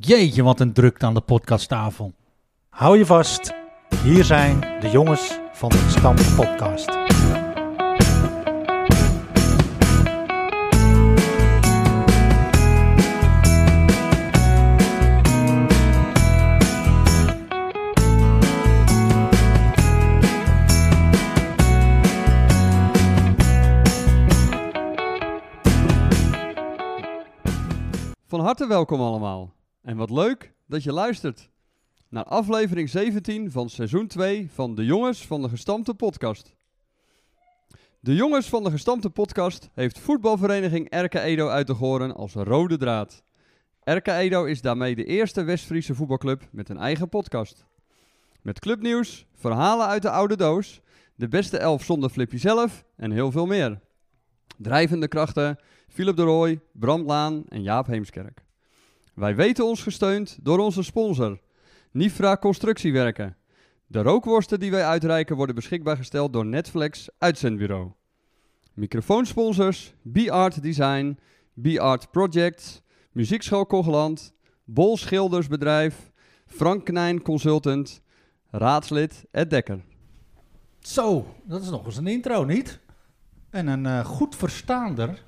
Jeetje, wat een drukte aan de podcasttafel. Hou je vast, hier zijn de jongens van de Stam Podcast. Van harte welkom allemaal. En wat leuk dat je luistert naar aflevering 17 van seizoen 2 van De Jongens van de Gestampte Podcast. De Jongens van de Gestampte Podcast heeft voetbalvereniging Erke Edo uit de Goren als rode draad. Erke Edo is daarmee de eerste West-Friese voetbalclub met een eigen podcast. Met clubnieuws, verhalen uit de oude doos, de beste elf zonder Flippy zelf en heel veel meer. Drijvende krachten, Philip de Rooij, Bram Laan en Jaap Heemskerk. Wij weten ons gesteund door onze sponsor, Nifra Constructiewerken. De rookworsten die wij uitreiken worden beschikbaar gesteld door Netflix Uitzendbureau. Microfoonsponsors, B-Art Design, B-Art Project, Muziekschool Kogeland, Bol Schildersbedrijf, Frank Knijn Consultant, raadslid Ed Dekker. Zo, dat is nog eens een intro, niet? En een eh, goed verstaander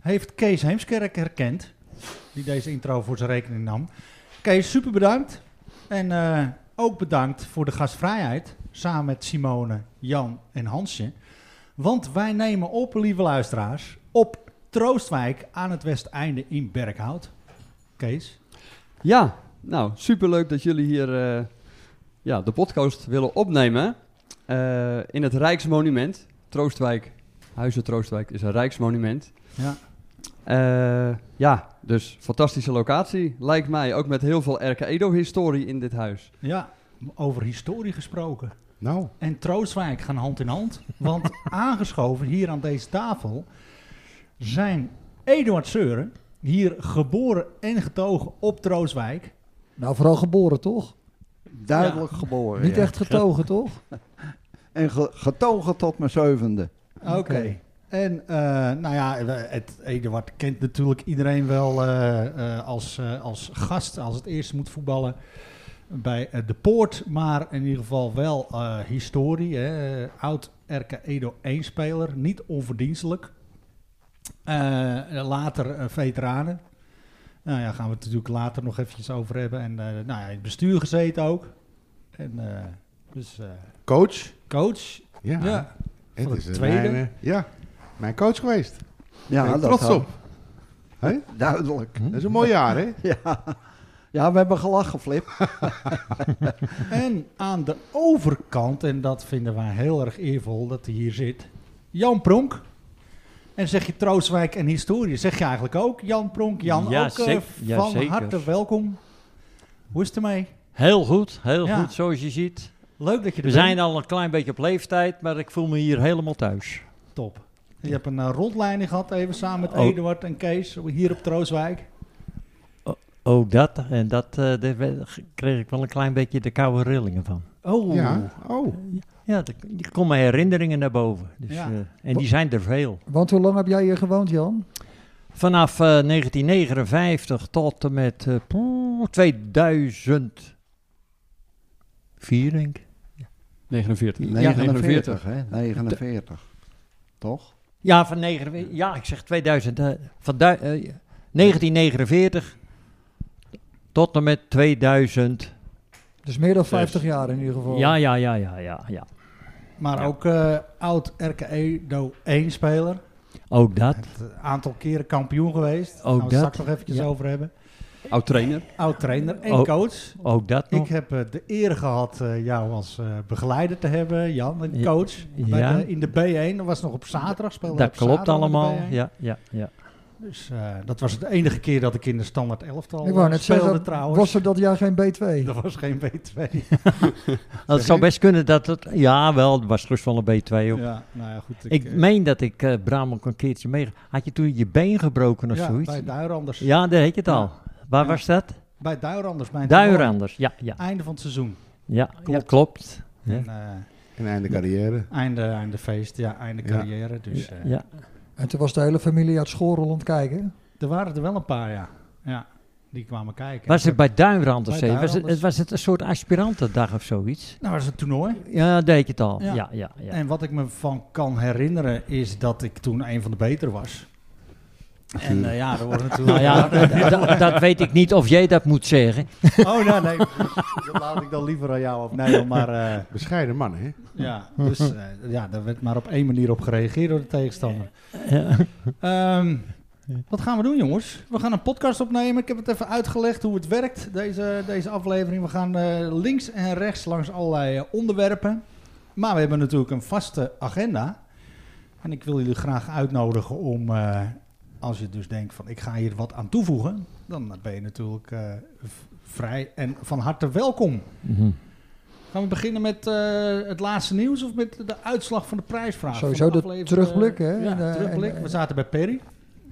heeft Kees Heemskerk herkend, die deze intro voor zijn rekening nam. Kees, super bedankt. En eh, ook bedankt voor de gastvrijheid, samen met Simone, Jan en Hansje. Want wij nemen op, lieve luisteraars, op Troostwijk aan het westeinde in Berkhout. Kees, Ja, nou, superleuk dat jullie hier eh, ja, de podcast willen opnemen. eh, in het Rijksmonument, Troostwijk. Huizen Troostwijk is een Rijksmonument. ja. Eh, ja, dus fantastische locatie, lijkt mij. Ook met heel veel Erke Edo-historie in dit huis. Ja, over historie gesproken. Nou, En Troostwijk gaan hand in hand. Want aangeschoven hier aan deze tafel zijn Eduard Seuren. Hier geboren en getogen op Troostwijk. Nou, vooral geboren, toch? duidelijk Oh, geboren. Niet ja. echt getogen, toch? En ge- getogen tot mijn zevende. Oké. En eh, nou ja, we- het, Eduard kent natuurlijk iedereen wel eh, eh, als, eh, als gast, als het eerst moet voetballen bij eh, de Poort. Maar in ieder geval wel eh, historie. Hè. Eh, Oud RK Edo 1-speler, niet onverdienstelijk. Eh, later eh, veteranen. Nou ja, gaan we het natuurlijk later nog eventjes over hebben. En eh, nou ja, in het bestuur gezeten ook. En eh, dus eh, Coach? coach. Ja. ja. het van is de een tweede. Mijn, eh, ja, mijn coach geweest. Ja, ben ik dat trots had- op. Hè? Duidelijk. Dat is een mooi jaar, hè? Ja. ja, we hebben gelachen, Flip. En aan de overkant, en dat vinden wij heel erg eervol dat hij hier zit, Jan Pronk. En zeg je Troostwijk en historie, zeg je eigenlijk ook Jan Pronk. Jan, Ja, ook eh, zek- ja, van zeker. harte welkom. Hoe is het ermee? Heel goed, heel Ja. goed zoals je ziet. Leuk dat je er We zijn bent. al een klein beetje op leeftijd, maar ik voel me hier helemaal thuis. Top. Je hebt een eh, rondleiding gehad even samen met Oh. Eduard en Kees hier op Troostwijk. Oh, dat en dat, eh, daar we- kreeg ik wel een klein beetje de koude rillingen van. Oh, Ja. Oh, Ja, er er komen herinneringen naar boven. Dus, Ja. eh, en die zijn er veel. Want hoe lang heb jij hier gewoond, Jan? Vanaf eh, 1959 tot en met eh, poeh, 2004, denk ik. 49. 49, hè? 49. Toch? Ja, van negen, ja, ik zeg 2000, eh, van du- eh, 1949 tot en met 2000. Dus meer dan 50 jaar in ieder geval. Ja, ja, ja, ja, ja, ja. maar Ja. ook eh, oud RKE Edo 1 speler. Ook dat. Een aantal keren kampioen geweest. Daar Ook gaan we dat. straks nog eventjes Ja. over hebben. Oud-trainer. Oud trainer en Oh. coach. Ook dat nog. Ik heb eh, de eer gehad eh, jou als eh, begeleider te hebben, Jan, een Ja. coach. Bij Ja. de- in de B1, dat was nog op zaterdag. speelde dat op klopt zaterdag in de allemaal. B1. Ja, ja, ja. Dus eh, dat was de enige keer dat ik in de standaard elftal ik wou eh, net speelde zeggen, trouwens. was er dat jaar geen B2? Dat was geen B2. Het zou best kunnen dat het... Ja, wel, het was rust wel een B2 op. ja, nou ja, goed. ik eh, meen dat ik eh Bram ook een keertje mee... Had je toen je been gebroken of ja, zoiets? Bij Duiranders. Ja, daar heet je het al. Waar Ja. was dat? Bij Duiranders. Mijn Duiranders. Ja, ja. Einde van het seizoen. Ja, Klopt. klopt. Ja, klopt. Ja. En, eh, een einde carrière. einde, einde feest, ja, einde Ja. carrière. Dus eh, Ja. eh, En toen was de hele familie uit Schorel aan het kijken. er waren er wel een paar, ja. ja. die kwamen kijken. Was het bij Duinrand of Bij zo? Was het, Duinrand. was het een soort aspirantendag of zoiets? Nou, dat is een toernooi. Ja, deed je het al. Ja, Ja. ja, ja. ja. En wat ik me van kan herinneren is dat ik toen een van de betere was. En eh, ja, dat wordt natuurlijk... Nou ja, dat- dat weet ik niet of jij dat moet zeggen. Oh, nou nee. Dat laat ik dan liever aan jou of nee, maar... eh, Bescheiden man, hè? Ja, dus eh, ja, daar werd maar op één manier op gereageerd door de tegenstander. Ehm, wat gaan we doen, jongens? We gaan een podcast opnemen. Ik heb het even uitgelegd hoe het werkt, deze, deze aflevering. We gaan eh, links en rechts langs allerlei eh, onderwerpen. Maar we hebben natuurlijk een vaste agenda. En ik wil jullie graag uitnodigen om, eh, als je dus denkt van ik ga hier wat aan toevoegen, dan ben je natuurlijk eh, v- vrij en van harte welkom. Mhm. Gaan we beginnen met eh, het laatste nieuws of met de uitslag van de prijsvraag? Sowieso Van de aflevering, terugblik, hè? eh, Ja, En, eh, terugblik. en- we zaten bij Perry,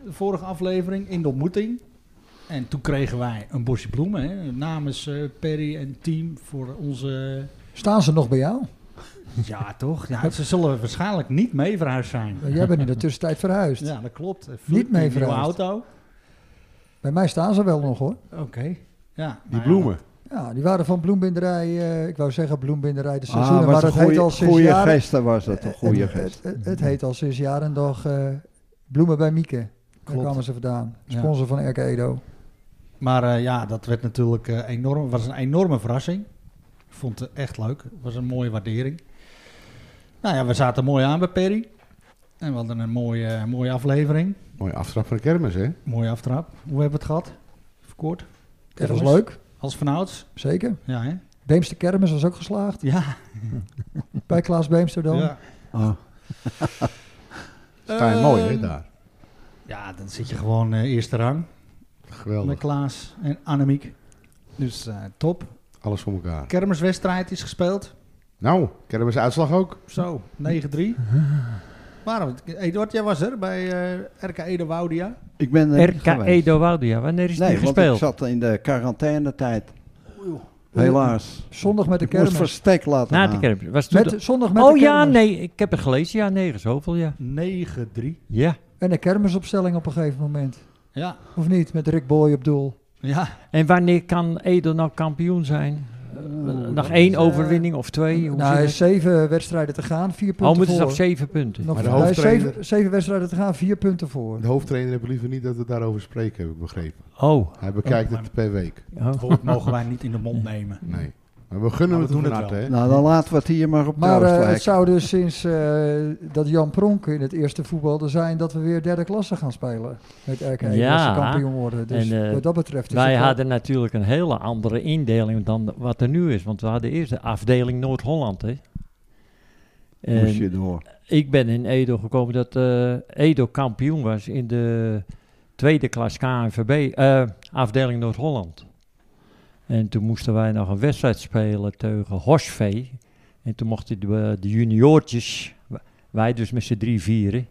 de vorige aflevering, in de ontmoeting. En toen kregen wij een bosje bloemen hè, namens eh, Perry en team voor onze... Staan ze nog bij jou? Ja, toch? Ja, ze zullen waarschijnlijk niet mee verhuisd zijn. Jij bent in de tussentijd verhuisd. Ja, dat klopt. Eh, Niet mee nieuwe verhuisd. auto. Bij mij staan ze wel nog hoor. Oké. Ja, Die nou ja, bloemen. Ja, die waren van bloembinderij, eh, ik wou zeggen bloembinderij de seizoenen, Ah, maar was dat een heet al goede, sinds goede jaren... gesten was dat, een goede het, gest. het, het- het heet al sinds jaren dag eh, bloemen bij Mieke. Daar Klopt. kwamen ze vandaan. Ja. Sponsor van RK Edo. Maar eh, ja, dat werd natuurlijk eh, enorm. was een enorme verrassing. Ik vond het echt leuk. Het was een mooie waardering. Nou ja, we zaten mooi aan bij Perry. En we hadden een mooie, eh, mooie aflevering. Mooie aftrap van de kermis, hè? Mooie aftrap. Hoe hebben we het gehad? Verkort. Dat was leuk, Als vanouds. zeker. Ja, hè? Beemster Kermis was ook geslaagd. Ja. Bij Klaas Beemster dan. ja. Oh. Sta je Eh, mooi, hè, daar. Ja, dan zit je gewoon eh, eerste rang. Met Geweldig. Klaas en Annemiek. Dus eh, top. Alles voor elkaar. Kermiswedstrijd is gespeeld. Nou, kermisuitslag ook. Zo, 9-3. Waarom? Eduard, jij was er bij eh, RK Ede Woudia. Ik ben er niet RK geweest. Edo Woudia, wanneer is Nee, die want gespeeld? ik zat in de quarantainetijd. Helaas. Zondag met de Ik moest kermis. verstek laten Na de gaan. kermis. Was toen Met, zondag de- met oh de ja, kermis. nee, ik heb het gelezen. Ja, negen zoveel, ja. 9-3. Ja. En een kermisopstelling op een gegeven moment. Ja, Of niet? Met Rick Boy op doel. ja. En wanneer kan Edo nou kampioen zijn? Nog één overwinning of twee? Hoe nou, hij zit is zeven wedstrijden te gaan, vier het? Oh, punten moeten ze voor. op zeven punten? Nog, Maar de hij is zeven, hoofdtrainer- zeven wedstrijden te gaan, vier punten voor. De hoofdtrainer heeft liever niet dat we daarover spreken, heb ik begrepen. Oh. Hij bekijkt het per week. oh. Woord mogen wij niet in de mond nemen. Nee. Maar we gunnen Maar het we hem doen van het harte, hè? Nou, dan laten we het hier maar op Maar eh, thuis het zou dus sinds eh, dat Jan Pronk in het eerste voetbal er zijn dat we weer derde klasse gaan spelen. Met RK Ja. als ze kampioen worden. Dus En, eh, wat dat betreft is Wij het wel- hadden natuurlijk een hele andere indeling dan wat er nu is. Want we hadden eerst de afdeling Noord-Holland. hè. En Moest je door. ik ben in Edo gekomen dat eh, Edo kampioen was in de tweede klas KNVB, eh, afdeling Noord-Holland. En toen moesten wij nog een wedstrijd spelen tegen Horsvee. En toen mochten de, eh, de juniortjes, w- wij dus met z'n drie vieren,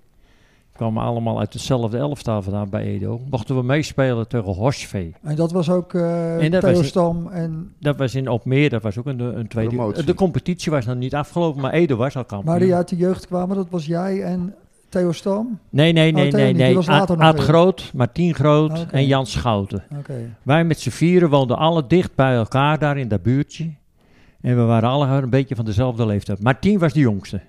kwamen allemaal uit hetzelfde elftal vandaan bij Edo. Mochten we meespelen tegen Horsvee. En dat was ook eh En dat Theo was- Stam en Dat was in Opmeer, dat was ook een, een tweede... Promotie. De competitie was nog niet afgelopen, maar Edo was al kampioen. maar die uit de jeugd kwamen. Dat was jij en Theo Stam. Nee, nee, Oh, nee, Theo nee. niet, die nee. was later Ad, nog Ad weer. Groot, Martien Groot Ah, oké. en Jan Schouten. Oké. Wij met z'n vieren woonden alle dicht bij elkaar daar in dat buurtje. En we waren alle een beetje van dezelfde leeftijd. Martien was de jongste.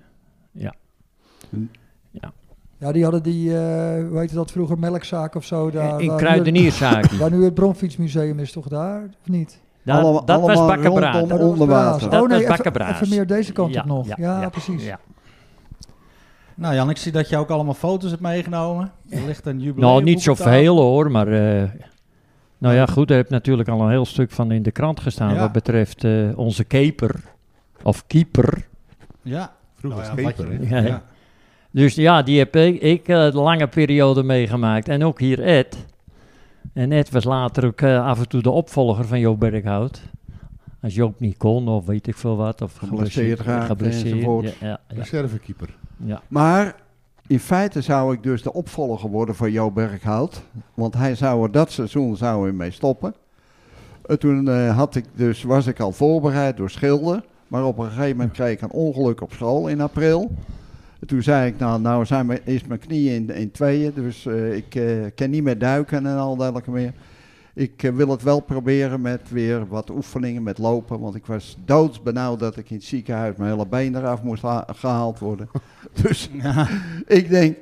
Ja, die hadden die, eh hoe heette dat vroeger, melkzaak of zo. Daar, in waar nu- Kruidenierszaken. Waar nu het Bronfietsmuseum is, toch daar? Of niet? dat Allemaal- dat was allemaal bakkenbraad. rondom- dat was onder Braas. water. Dat Oh was nee, even, Bakkenbraas. even meer deze kant Ja, op nog. ja, Ja, ja, precies. Ja. Nou Jan, ik zie dat je ook allemaal foto's hebt meegenomen. Er ligt een jubileum. Nou, niet zoveel hoor, maar... eh, nou ja, goed, er hebt natuurlijk al een heel stuk van in de krant gestaan... Ja. wat betreft eh, onze keeper. Of keeper. Ja. Vroeger Nou was ja, het keeper, wat hè? je- Ja. ja. Dus ja, die heb ik, ik eh, een lange periode meegemaakt. En ook hier Ed. En Ed was later ook eh, af en toe de opvolger van Joop Berghout. Als Joop niet kon, of weet ik veel wat. Of Geblesseerd raakte enzovoort. Dus Ja, ja, ja, Reservekeeper. ja. Maar in feite zou ik dus de opvolger worden van Jo Berghout. Want hij zou er dat seizoen zou hij mee stoppen. En toen eh, had ik dus, was ik al voorbereid door schilder. Maar op een gegeven moment kreeg ik een ongeluk op school in april. En toen zei ik, nou, nou zijn mijn, is mijn knieën in, in tweeën. Dus eh, ik eh, kan niet meer duiken en al dergelijke meer. Ik eh, wil het wel proberen met weer wat oefeningen met lopen. Want ik was doodsbenauwd dat ik in het ziekenhuis mijn hele been eraf moest ha- gehaald worden. Dus ik denk,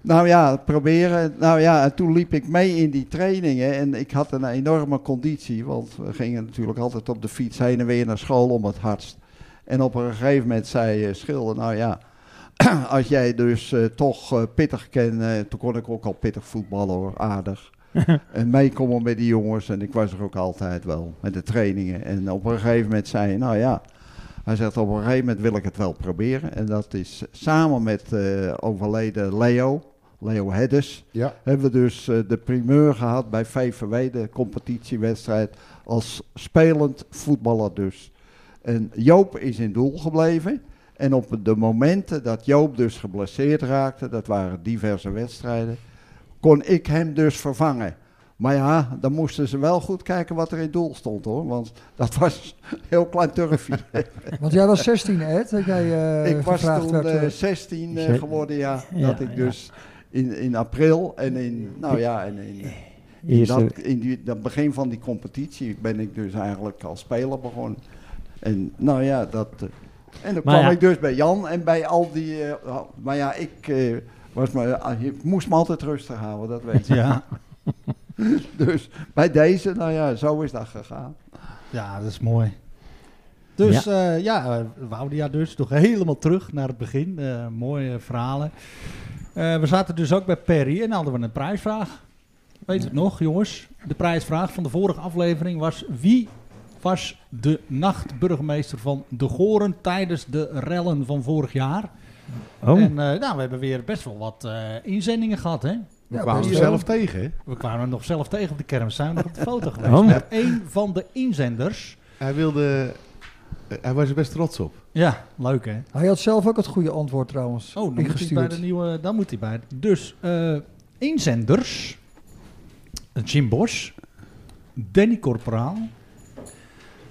nou ja, proberen. Nou ja, en toen liep ik mee in die trainingen. En ik had een enorme conditie. Want we gingen natuurlijk altijd op de fiets heen en weer naar school om het hardst. En op een gegeven moment zei eh, Schilder, nou ja, als jij dus eh, toch eh, pittig kan, eh, toen kon ik ook al pittig voetballen hoor, aardig. en meekomen met die jongens en ik was er ook altijd wel met de trainingen. En op een gegeven moment zei hij, nou ja, hij zegt op een gegeven moment wil ik het wel proberen. En dat is samen met eh, overleden Leo, Leo Heddes, Ja. hebben we dus eh, de primeur gehad bij VVW, de competitiewedstrijd, als spelend voetballer dus. En Joop is in doel gebleven. En op de momenten dat Joop dus geblesseerd raakte, dat waren diverse wedstrijden, kon ik hem dus vervangen. Maar ja, dan moesten ze wel goed kijken wat er in doel stond hoor. Want dat was een heel klein turfje. Want jij was 16, Ed, dat jij eh, ik was gevraagd toen werd. eh, eh, 16 eh, Ze- geworden, ja. Ja, dat ik ja. dus in, in april en in, nou ja, en in, in, Eerste, dat, in die, dat begin van die competitie ben ik dus eigenlijk als speler begonnen. En nou ja, dat. eh, en dan Maar kwam ja. ik dus bij Jan en bij al die. eh, al- maar ja, ik, eh, was maar, ah, je moest me altijd rustig houden, dat weet je. Ja, Dus bij deze, nou ja, zo is dat gegaan. ja, dat is mooi. Dus ja, ja eh, Woudia dus, toch helemaal terug naar het begin. Eh, mooie verhalen. Eh, we zaten dus ook bij Perry en hadden we een prijsvraag. Weet het nog, jongens? De prijsvraag van de vorige aflevering was... Wie was de nachtburgemeester van De Goren tijdens de rellen van vorig jaar? oh, En eh, nou, we hebben weer best wel wat eh, inzendingen gehad, hè? We Ja, kwamen best hem wel. zelf tegen, hè? We kwamen hem nog zelf tegen op de kermis. Zijn we nog op de foto geweest? Oh. Met een van de inzenders. Hij wilde... eh, Hij was er best trots op. Ja, leuk hè? Hij had zelf ook het goede antwoord Oh, trouwens. dan moet hij bij ingestuurd. de nieuwe... Dan moet hij bij. Dus, eh, inzenders. Jim Bosch. Danny Corporaal.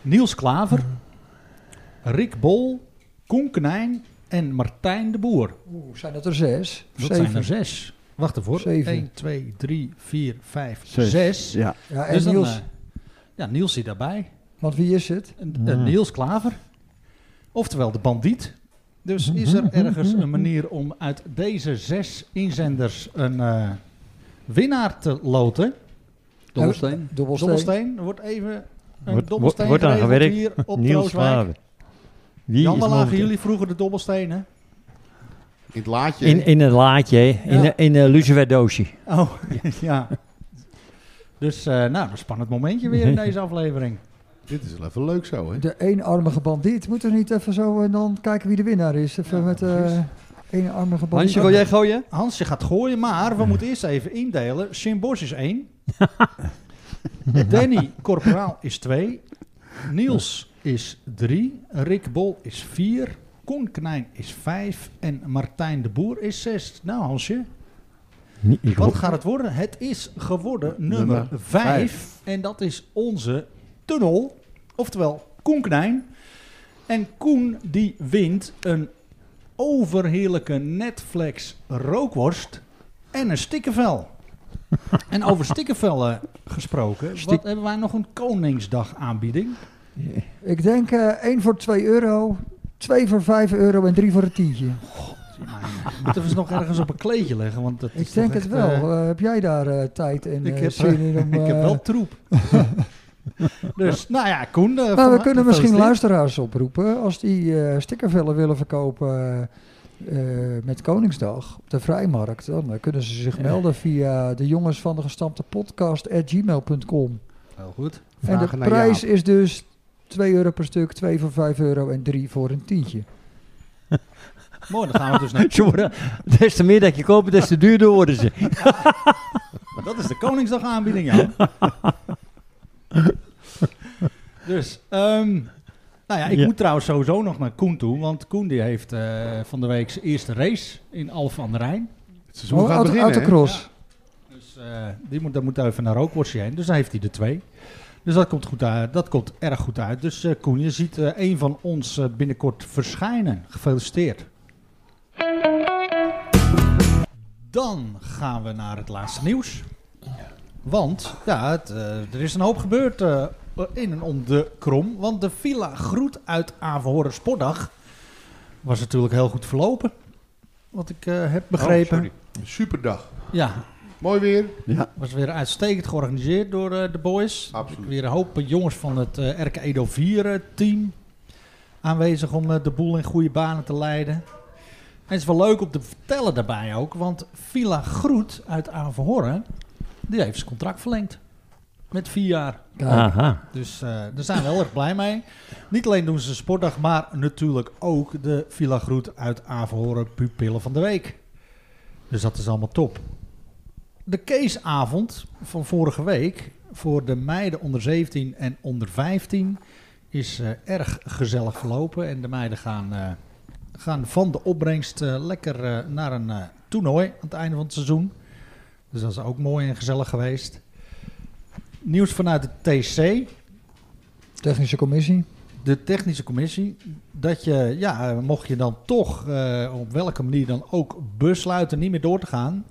Niels Klaver. Mhm. Rick Bol. Koen Knijn. En Martijn de Boer. Oeh, zijn dat er zes? Dat zijn er zes. Wacht ervoor. Zeven. 1, 2, 3, 4, 5, Zes. 6. Ja, Ja, en Dus dan, Niels, eh, ja, Niels zit daarbij. want wie is het? Een- Hmm. een Niels Klaver. Oftewel de bandiet. Dus Hmm, is er ergens een manier om uit deze zes inzenders een eh, winnaar te loten? Dobbelsteen. Dobbelsteen. Dobbelsteen. Er wordt even een Wordt- dobbelsteen wordt aan geregeld gewerkt. hier op Niels Troostwijk. Klaver. Wie Jan, waar is lagen momenteel- jullie vroeger de dobbelstenen? In het laadje. In, in een laadje, hè. in, Ja. een- in een lucifer Oh, ja. Dus, eh, nou, een spannend momentje weer in deze aflevering. Dit is wel even leuk zo, hè? De eenarmige bandiet. Moeten we niet even zo en dan kijken wie de winnaar is? Even met eh, de eenarmige bandiet. Hansje, wil jij gooien? Hans, je gaat gooien, maar we moeten eerst even indelen. Sim Bos is 1. Danny Corporaal is 2. Niels is 3. Rick Bol is 4. Koen Knijn is 5. En Martijn de Boer is 6. Nou, Hansje, wat Ik hoop- gaat het worden? Het is geworden nummer Nummer 5. En dat is onze tunnel. Oftewel Koen Knijn. En Koen die wint een overheerlijke Netflix rookworst en een stikkenvel. en over stikkenvellen gesproken, Stik- wat hebben wij nog een Koningsdag aanbieding? Ik denk eh één voor 2 euro, twee voor 5 euro en drie voor een tientje. Moeten we ze nog ergens op een kleedje leggen? Want dat is Ik denk toch het echt, wel. eh, Eh, heb jij daar eh, tijd en ik eh, heb- zin in om... ik heb eh, wel troep. dus, nou ja, Koen. eh, Maar van- we kunnen misschien gefeliciteerd. luisteraars oproepen als die eh, stickervellen willen verkopen eh, eh, met Koningsdag op de vrijmarkt. Dan eh, kunnen ze zich melden via de jongens van de gestampte podcast at gmail.com. Heel goed. En Vragen de naar prijs Jaap. is dus 2 euro per stuk, 2 voor 5 euro en 3 voor een tientje. Mooi, dan gaan we dus naar... Jongen, des te meer dat je koopt, des te duurder worden ze. Dat is de Koningsdag aanbieding, ja. dus, ehm, nou ja, ik Ja. moet trouwens sowieso nog naar Koen toe. Want Koen die heeft eh, van de week zijn eerste race in Alphen aan de Rijn. Het seizoen Oh, Dus gaat auto- beginnen, hè? autocross. Dus eh, die moet, daar moet even naar Rookworstje heen. Dus dan heeft hij de twee. Dus dat komt, goed uit, dat komt erg goed uit. Dus eh, Koen, je ziet eh een van ons eh, binnenkort verschijnen. Gefeliciteerd. Dan gaan we naar het laatste nieuws. Want ja, het, eh, er is een hoop gebeurd eh, in en om de krom. Want de Villa Groet uit Averhoren Sportdag was natuurlijk heel goed verlopen. Wat ik eh, heb begrepen. Oh, sorry. Superdag. ja, Mooi weer. was weer uitstekend georganiseerd door eh, de boys. Absoluut. Weer een hoop jongens van het eh RK Edo 4 eh, team aanwezig om eh, de boel in goede banen te leiden. En het is wel leuk om te vertellen daarbij ook, want Villa Groet uit Averhoorn, die heeft zijn contract verlengd. Met vier jaar. Kijk, Aha. Dus eh, daar zijn we heel erg blij mee. Niet alleen doen ze een sportdag, maar natuurlijk ook de Villa Groet uit Averhoren pupillen van de week. Dus dat is allemaal top. De Keesavond van vorige week voor de meiden onder 17 en onder 15 is eh, erg gezellig verlopen. En de meiden gaan, eh, gaan van de opbrengst eh, lekker eh, naar een eh, toernooi aan het einde van het seizoen. Dus dat is ook mooi en gezellig geweest. Nieuws vanuit de TC. Technische commissie. De technische commissie, dat je, ja, mocht je dan toch eh, op welke manier dan ook besluiten niet meer door te gaan,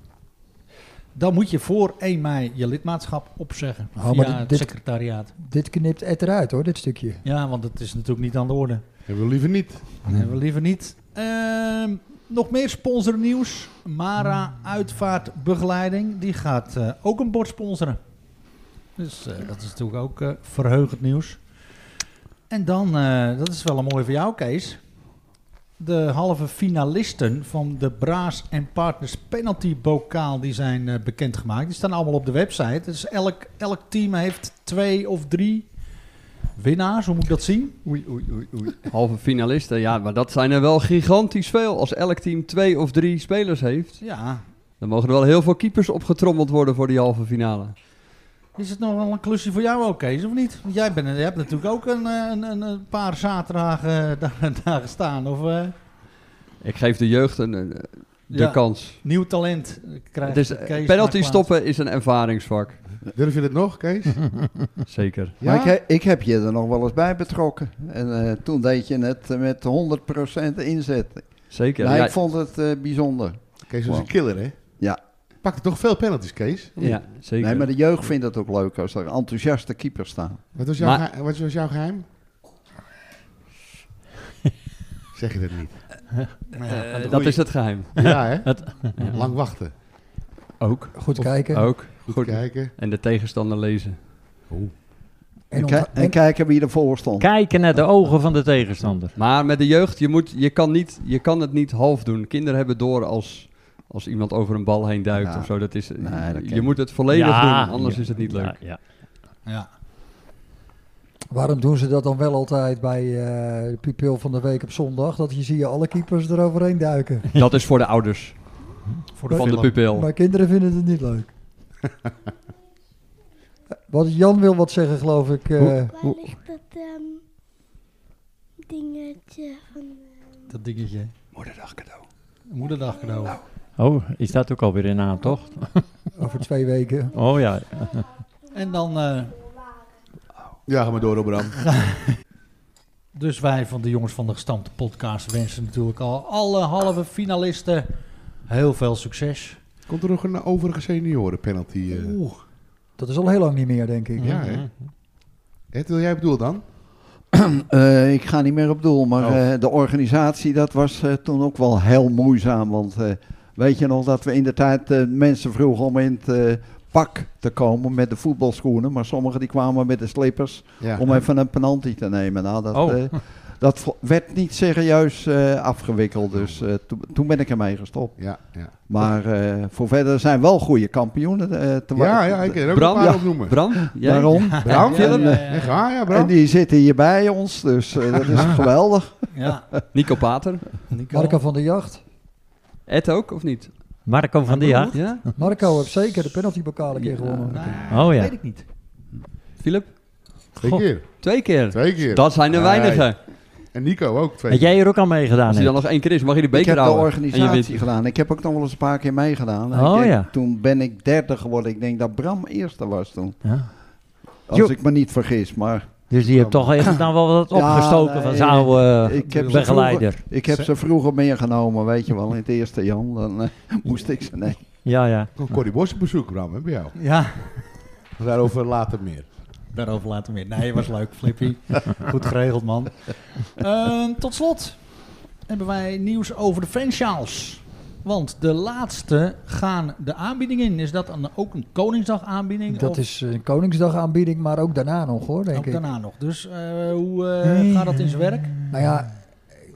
dan moet je voor 1 mei je lidmaatschap opzeggen Oh, via maar dit- het dit- secretariaat. Dit knipt Ed eruit hoor, dit stukje. Ja, want dat is natuurlijk niet aan de orde. Hebben we liever niet. Dat hebben we liever niet. Ehm, nog meer sponsornieuws. Mara Uitvaartbegeleiding, die gaat eh, ook een bord sponsoren. Dus eh, dat is natuurlijk ook eh, verheugend nieuws. En dan, eh, dat is wel een mooie voor jou, Kees. De halve finalisten van de Braas en Partners Penalty Bokaal die zijn eh, bekendgemaakt. Die staan allemaal op de website. Dus elk, elk team heeft twee of drie winnaars. Hoe moet ik dat zien? Oei, oei, oei, oei. Halve finalisten, ja, maar dat zijn er wel gigantisch veel. Als elk team twee of drie spelers heeft, Ja, dan mogen er wel heel veel keepers opgetrommeld worden voor die halve finale. Is het nog wel een klusje voor jou ook, Kees, of niet? Want jij bent, je hebt natuurlijk ook een, eh, een, een, een paar zaterdagen eh, daar, daar gestaan. Of eh, Ik geef de jeugd een, een- de Ja. kans. nieuw talent krijgt Het is, Kees Dus, eh, penalty Markplaats. stoppen is een ervaringsvak. Durf je dat nog, Kees? Zeker. Ja? Maar ik, he- ik heb je er nog wel eens bij betrokken. En eh, toen deed je het eh, met 100% inzet. Zeker. nou, Ja, ik vond het eh, bijzonder. Kees was een killer, hè? Ja. Pakte toch veel penalties, Kees? ja, zeker. Nee, maar de jeugd vindt het ook leuk als er enthousiaste keepers staan. Wat was jouw, Maar- geheim, wat was jouw geheim? zeg je dat niet? Eh, Ja, dat goeie. is het geheim. Ja, hè? Het- Lang wachten. Ook. Goed kijken. Oh, Ook. Goed, Goed. kijken. En de tegenstander lezen. En, En, ki- ontho- en en, kijken wie ervoor stond. Kijken naar de ogen van de tegenstander. Maar met de jeugd, je, moet, je, kan, niet, je kan het niet half doen. Kinderen hebben door als, als iemand over een bal heen duikt Ja. of zo. Dat is, Nee, dat je ken- moet het volledig Ja, doen, anders ja, is het niet leuk. Ja, ja. Ja. waarom doen ze dat dan wel altijd bij eh, de pupil van de week op zondag? Dat je zie je alle keepers eroverheen duiken. Dat is voor de ouders Voor van de film. pupil. Maar kinderen vinden het niet leuk. Wat Jan wil wat zeggen, geloof ik. eh, Waar ligt dat ehm, dingetje van... dat dingetje. Moederdag cadeau. Moederdag cadeau. Nou. Oh, is dat ook alweer in naam, toch? over twee weken. Oh ja. En dan, eh, Ja, ga maar door, Robram. dus wij van de jongens van de gestampte podcast wensen natuurlijk al alle halve finalisten heel veel succes. Komt er nog een overige senioren penalty? eh? Oeh, Dat is al heel lang niet meer, denk ik. Ja, hè? Ed, wil jij bedoel dan? Eh, ik ga niet meer op doel, maar Oh. eh, de organisatie dat was eh, toen ook wel heel moeizaam. Want eh, weet je nog dat we in de tijd eh, mensen vroegen om in het eh, pak te komen met de voetbalschoenen. Maar sommigen die kwamen met de slippers Ja. om even een penalty te nemen. Nou, dat, Oh. eh, dat vo- werd niet serieus eh, afgewikkeld, dus eh, to- toen ben ik ermee gestopt. Ja, ja. Maar eh, voor verder zijn wel goede kampioenen eh, te wa- ja, ja, ik kan er ook Bram, een paar ja. opnoemen. Bram, jij? Daarom. Bram, Ja, ja, En ga, ja, Bram. En die zitten hier bij ons, dus eh, dat is Ah. geweldig. ja. Nico Pater. Nico. Marco van der Jacht. Ed ook, of niet? Marco van der Jacht. Ja? Marco heeft zeker de penaltybokaal een keer Ja, gewonnen. Nee, Oh ja. weet ik niet. Philip? Twee keer. Twee keer. Twee keer. Dat zijn er Nee. weinigen. En Nico ook twee Had jij er ook aan meegedaan? Als hij dan Ed? nog één keer is, mag je de Ik beker heb de houden. en je organisatie wint. gedaan. Ik heb ook nog wel eens een paar keer meegedaan. Oh, Ik- ik- ja. Toen ben ik derde geworden. Ik denk dat Bram eerste was toen. Ja. Als Jo. ik me niet vergis. Maar Dus die hebt toch even dan wel wat Ja, opgestoken nee, van zijn oude ik heb ze begeleider. ik heb ze vroeger meegenomen, weet je wel. In het eerste Jan, dan eh, moest ik ze nemen. Ja, ja. keer. Corrie Bos op bezoek, Bram, hè, bij jou. Ja, Maar Daarover later meer. Daarover later meer. Nee, was leuk, Flippy. Goed geregeld, man. Ehm, tot slot hebben wij nieuws over de franchise. Want de laatste gaan de aanbieding in. Is dat dan ook een Koningsdag aanbieding? Dat of is een Koningsdag aanbieding, maar ook daarna nog hoor, denk ook ik. daarna nog. Dus eh, hoe eh, gaat dat in zijn werk? Nou ja,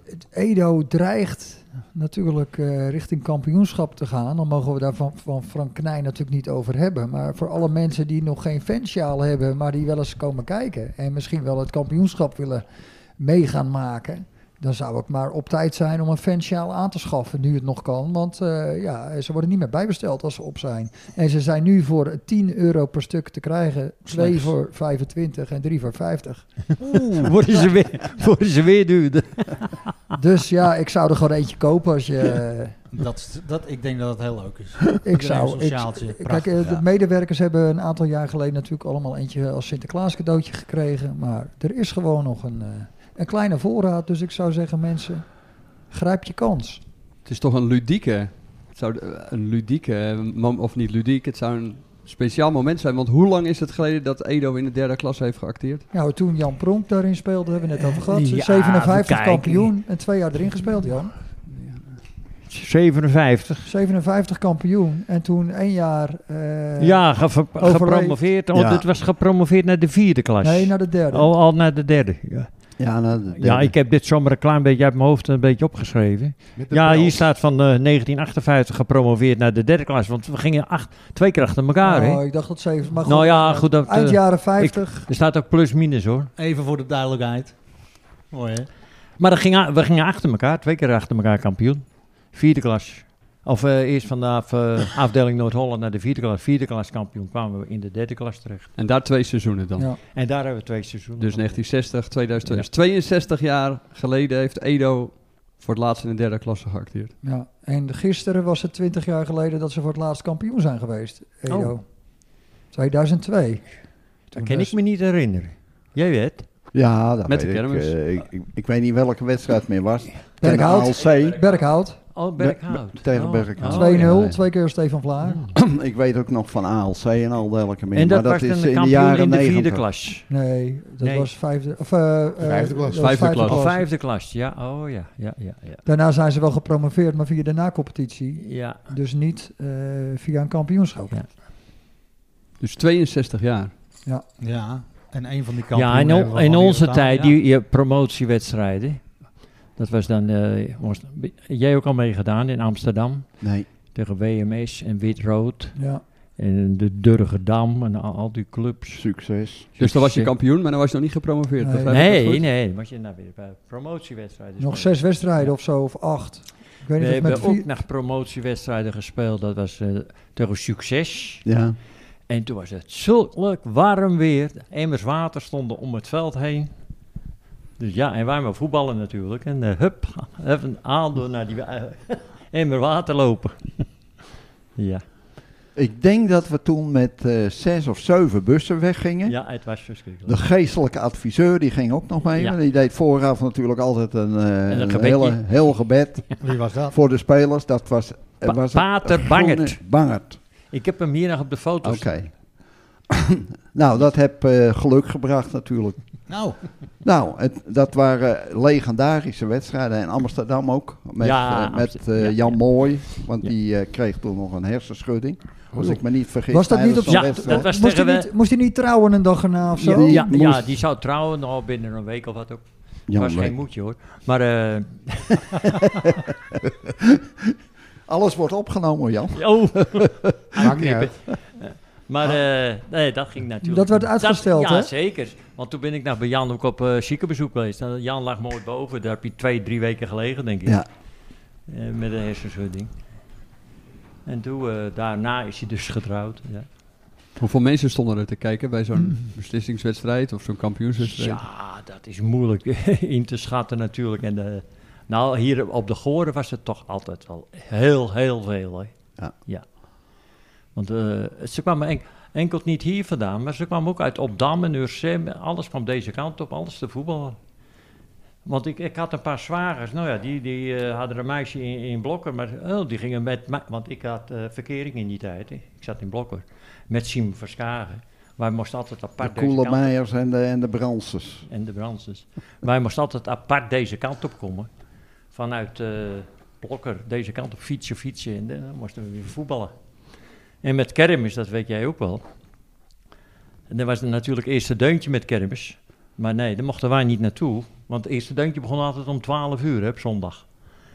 het Edo dreigt natuurlijk eh, richting kampioenschap te gaan. Dan mogen we daar van, van Frank Knijn natuurlijk niet over hebben. Maar voor alle mensen die nog geen fansjaal hebben, maar die wel eens komen kijken. En misschien wel het kampioenschap willen meegaan maken. Dan zou het maar op tijd zijn om een fansjaal aan te schaffen, nu het nog kan. Want eh, ja, ze worden niet meer bijbesteld als ze op zijn. En ze zijn nu voor 10 euro per stuk te krijgen. Twee Slechts. voor 25 en drie voor 50. Oeh, worden ze weer, worden ze weer duurder. Dus ja, ik zou er gewoon eentje kopen als je. eh, Dat, dat, ik denk dat het heel leuk is. ik Iedereen zou. zo'n Ik, sjaaltje. kijk, Prachtig, eh, ja. de medewerkers hebben een aantal jaar geleden natuurlijk allemaal eentje als Sinterklaas cadeautje gekregen. Maar er is gewoon nog een, eh, een kleine voorraad. Dus ik zou zeggen, mensen, grijp je kans. Het is toch een ludieke, het zou eh, een ludieke, eh, mom- of niet ludiek, het zou een speciaal moment zijn. Want hoe lang is het geleden dat Edo in de derde klas heeft geacteerd? Nou, toen Jan Pronk daarin speelde, hebben we net over gehad. Eh, Ja, 57 kijk. kampioen en twee jaar erin gespeeld, Jan. 57. 57 kampioen en toen één jaar. eh, ja, geve- overleefd. gepromoveerd. Oh, Ja. dit was gepromoveerd naar de vierde klas. Oh, Nee, naar de derde. al, al naar de derde. Ja. Ja, nou, de- ja, ik heb dit zomaar een klein beetje uit mijn hoofd een beetje opgeschreven. Met de Ja, pels. hier staat van eh, 1958 gepromoveerd naar de derde klas. Want we gingen acht, twee keer achter elkaar. hè? Oh, ik dacht dat zeven. Maar Nou ja, goed, dat, Eind eh, jaren 50. Er staat ook plus minus hoor. Even voor de duidelijkheid. Mooi, hè? Maar dat ging, a- we gingen achter elkaar, twee keer achter elkaar kampioen. Vierde klas. Of eh, eerst van de af- eh, afdeling Noord-Holland naar de vierde klas. Vierde klas kampioen kwamen we in de derde klas terecht. En daar twee seizoenen dan. Ja. En daar hebben we twee seizoenen. Dus 1960, 2002. Dus 62 jaar geleden heeft Edo voor het laatst in de derde klasse geacteerd. Ja, en gisteren was het 20 jaar geleden dat ze voor het laatst kampioen zijn geweest. Edo. 2002. Dat Toen dus kan ik was- me niet herinneren. Jij weet. ja dat Met weet de ik. kermis. Eh, ik, ik. Ik weet niet welke wedstrijd het meer was. Ten Berkhout. ALC. Berkhout. Oh, Be- Berghout. tegen Oh. Berghout. Oh, 2-0, ja. Hmm. ja. twee keer Stefan Vlaar. ik weet ook nog van ALC en al dergelijke meer. En dat, maar was dat is een in de kampioen jaren in de vierde 90. klas. Nee, dat Nee. was vijfde. Of, eh, eh, Vijfde klas. dat was Vijfde klas. Oh, vijfde klas. Ja, oh ja. Ja, ja, ja. Daarna zijn ze wel gepromoveerd, maar via de nacompetitie. ja. Dus niet eh, via een kampioenschap. Ja. Dus 62 jaar. Dus Ja. En een van die kampioenen Ja, in, hebben o- we in alweer onze gedaan. tijd, Ja. die, die promotiewedstrijden. Dat was dan, eh, jongens, jij ook al meegedaan in Amsterdam. Nee. Tegen WMS en Wit-Rood. Ja. En de Durgedam en al, al die clubs. Eh, Succes. Dus dan was je kampioen, maar dan was je nog niet gepromoveerd. Nee. begrijp ik dat Nee, goed? nee, was je nou weer bij promotiewedstrijden. Nog spelen. zes wedstrijden of zo, of acht. Ik weet We niet of met hebben ook vier... nog promotiewedstrijden gespeeld. Dat was eh, tegen Succes. Ja. En toen was het zulk warm weer. De Emmers water stonden om het veld heen. Dus ja, en wij maar voetballen natuurlijk. En eh, hup, even aandoen naar die eh, emmer water lopen. ja. Ik denk dat we toen met eh, zes of zeven bussen weggingen. ja, het was De verschrikkelijk. geestelijke adviseur die ging ook nog mee. Ja. want Die deed vooraf natuurlijk altijd een, eh, een een gebedje. hele, heel gebed Wie was dat? voor de spelers. Dat was, eh, Pa- was het Pater groene- Bangert. Bangert, Ik heb hem hier nog op de oké. foto's. nou, dat heb eh, geluk gebracht natuurlijk. Nou, Nou, het, dat waren legendarische wedstrijden. In Amsterdam ook. Met, Ja, eh, met eh, ja, ja. Jan Mooi. Want Ja. die eh, kreeg toen nog een hersenschudding. Als ik me niet vergis. Was dat niet tijdens op- zo'n Ja, wedstrijd. dat was moest, hij tegen niet, moest hij niet trouwen een dag erna of Ja, zo? ja, Die ja, moest- die zou trouwen al binnen een week of wat ook. Jan was Leek. geen moedje hoor. Maar eh, Alles wordt opgenomen, Jan. oh, Maakt niet uit. maar eh, nee, dat ging natuurlijk. Dat werd niet. uitgesteld, ja, hè? zeker. Want toen ben ik nog bij Jan ook op eh ziekenbezoek geweest. Nou, Jan lag mooi boven. Daar heb je twee, drie weken gelegen, denk ik. Ja. Eh, met een hersenschudding. En toen, eh, daarna is hij dus getrouwd. Ja, Hoeveel mensen stonden er te kijken bij zo'n beslissingswedstrijd of zo'n kampioenswedstrijd? Mm. ja dat is moeilijk in te schatten natuurlijk. En, eh, nou, hier op de Goren was het toch altijd wel heel, heel veel. Hè? Ja. Want eh, ze kwamen en, enkel niet hier vandaan, maar ze kwamen ook uit Opdam en Ursem. Alles kwam deze kant op, alles te voetballen. Want ik, ik had een paar zwagers, nou ja, die, die eh, hadden een meisje in, in Blokker, maar oh, die gingen met mij, want ik had eh, verkering in die tijd, hè. ik zat in Blokker, met Siem Verskagen. Wij moesten altijd De apart deze Koele kant op. Meijers en de, en de Bransers. en de Bransers. Wij moesten altijd apart deze kant op komen. Vanuit eh Blokker, deze kant op fietsen, fietsen. En eh, dan moesten we weer voetballen. En met kermis, dat weet jij ook wel. En dan was er natuurlijk eerst een deuntje met kermis. Maar nee, daar mochten wij niet naartoe. Want het eerste deuntje begon altijd om 12 uur hè, op zondag.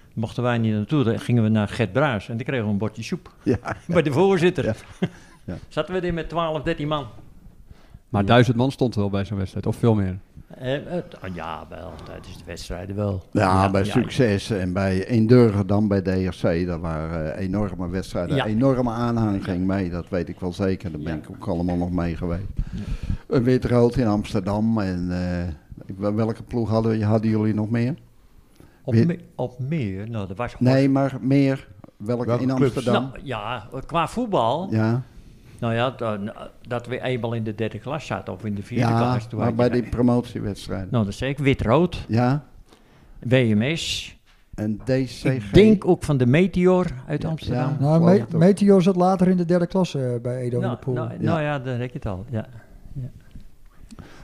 Daar mochten wij niet naartoe. Dan gingen we naar Gert Bruis en die kregen we een bordje soep. Ja, Bij de voorzitter. Ja. Ja. Zaten we er met 12, 13 man. Maar duizend man stond er wel bij zo'n wedstrijd, of veel meer. Eh, eh, t- ja, wel, tijdens de wedstrijden wel. ja, bij Succes en bij Eendurgen dan bij DRC. Dat waren eh, enorme wedstrijden, Ja. enorme aanhang ging mee. Dat weet ik wel zeker. Daar ben Ja. ik ook allemaal nog mee geweest. Een Wit Rood in Amsterdam. En eh, wel- welke ploeg hadden, hadden jullie nog meer? Op, Weer- me- op meer, nou, dat was gewoon... Nee, maar meer. Welke, Welke in clubs? Amsterdam? Nou, ja, qua voetbal, Ja, nou ja, dan, eh, dat we eenmaal in de derde klas zaten of in de vierde ja klas. toen maar had bij je- die promotiewedstrijden. Nou, dat zei ik, wit-rood, Ja, WMS, en DCG. ik denk ook van de Meteor uit Ja, Amsterdam. ja. Nou, geloof Me- het ook. Meteo zat later in de derde klasse eh, bij Edo in nou, de Poel. nou, nou ja, dan heb je het al, ja.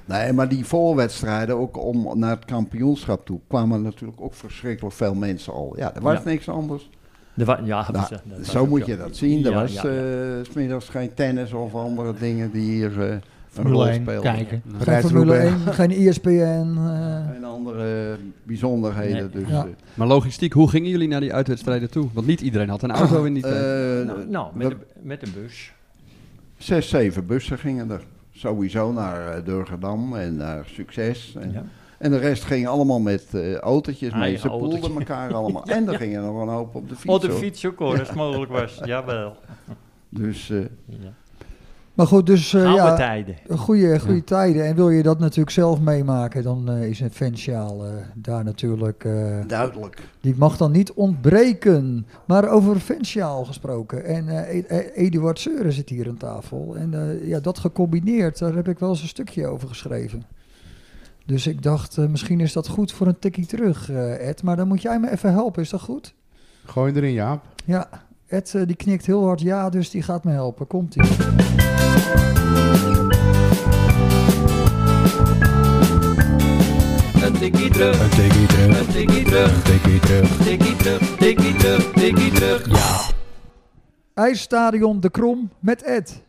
Nee, maar die voorwedstrijden, ook om naar het kampioenschap toe, kwamen natuurlijk ook verschrikkelijk veel mensen al. Ja, er was Ja. niks anders. Er wa- ja Nou, dat was zo ook moet zo. je dat zien. Er Ja, was ja, eh, s middags geen tennis of andere dingen die hier eh een Formule rol 1 speelden. kijken. geen Formule 1, geen ESPN. eh, En andere eh, bijzonderheden. Nee. Dus, Ja. eh, Maar logistiek, hoe gingen jullie naar die uitwedstrijden toe? Want niet iedereen had een auto in die tijd. eh, Nou, nou, met, we- de- met een bus. zes, zeven bussen gingen er. Sowieso naar eh, Durgerdam en naar Succes. En, Ja. en de rest ging allemaal met eh autootjes mee. Eigen Ze poelden autootje. elkaar allemaal. En er gingen nog een hoop op de fiets. Oh, de hoor. fiets ook hoor, als het mogelijk was, jawel. Dus eh, Ja. Maar goed, dus eh, Oude ja, tijden. goede, goede tijden. En wil je dat natuurlijk zelf meemaken, dan eh, is het fansjaal eh, daar natuurlijk... eh, duidelijk. Die mag dan niet ontbreken. Maar over Ventiaal gesproken. En eh, E- E- Eduard Seuren zit hier aan tafel. En eh, ja, dat gecombineerd, daar heb ik wel eens een stukje over geschreven. Dus ik dacht, eh, misschien is dat goed voor een tikkie terug, eh, Ed. Maar dan moet jij me even helpen, is dat goed? Gooi hem erin, Jaap. Ja, Ed eh, die knikt heel hard ja, dus die gaat me helpen. Komt-ie. Een tikkie terug, een tikkie terug, een tikkie terug, IJsstadion De Krom met Ed.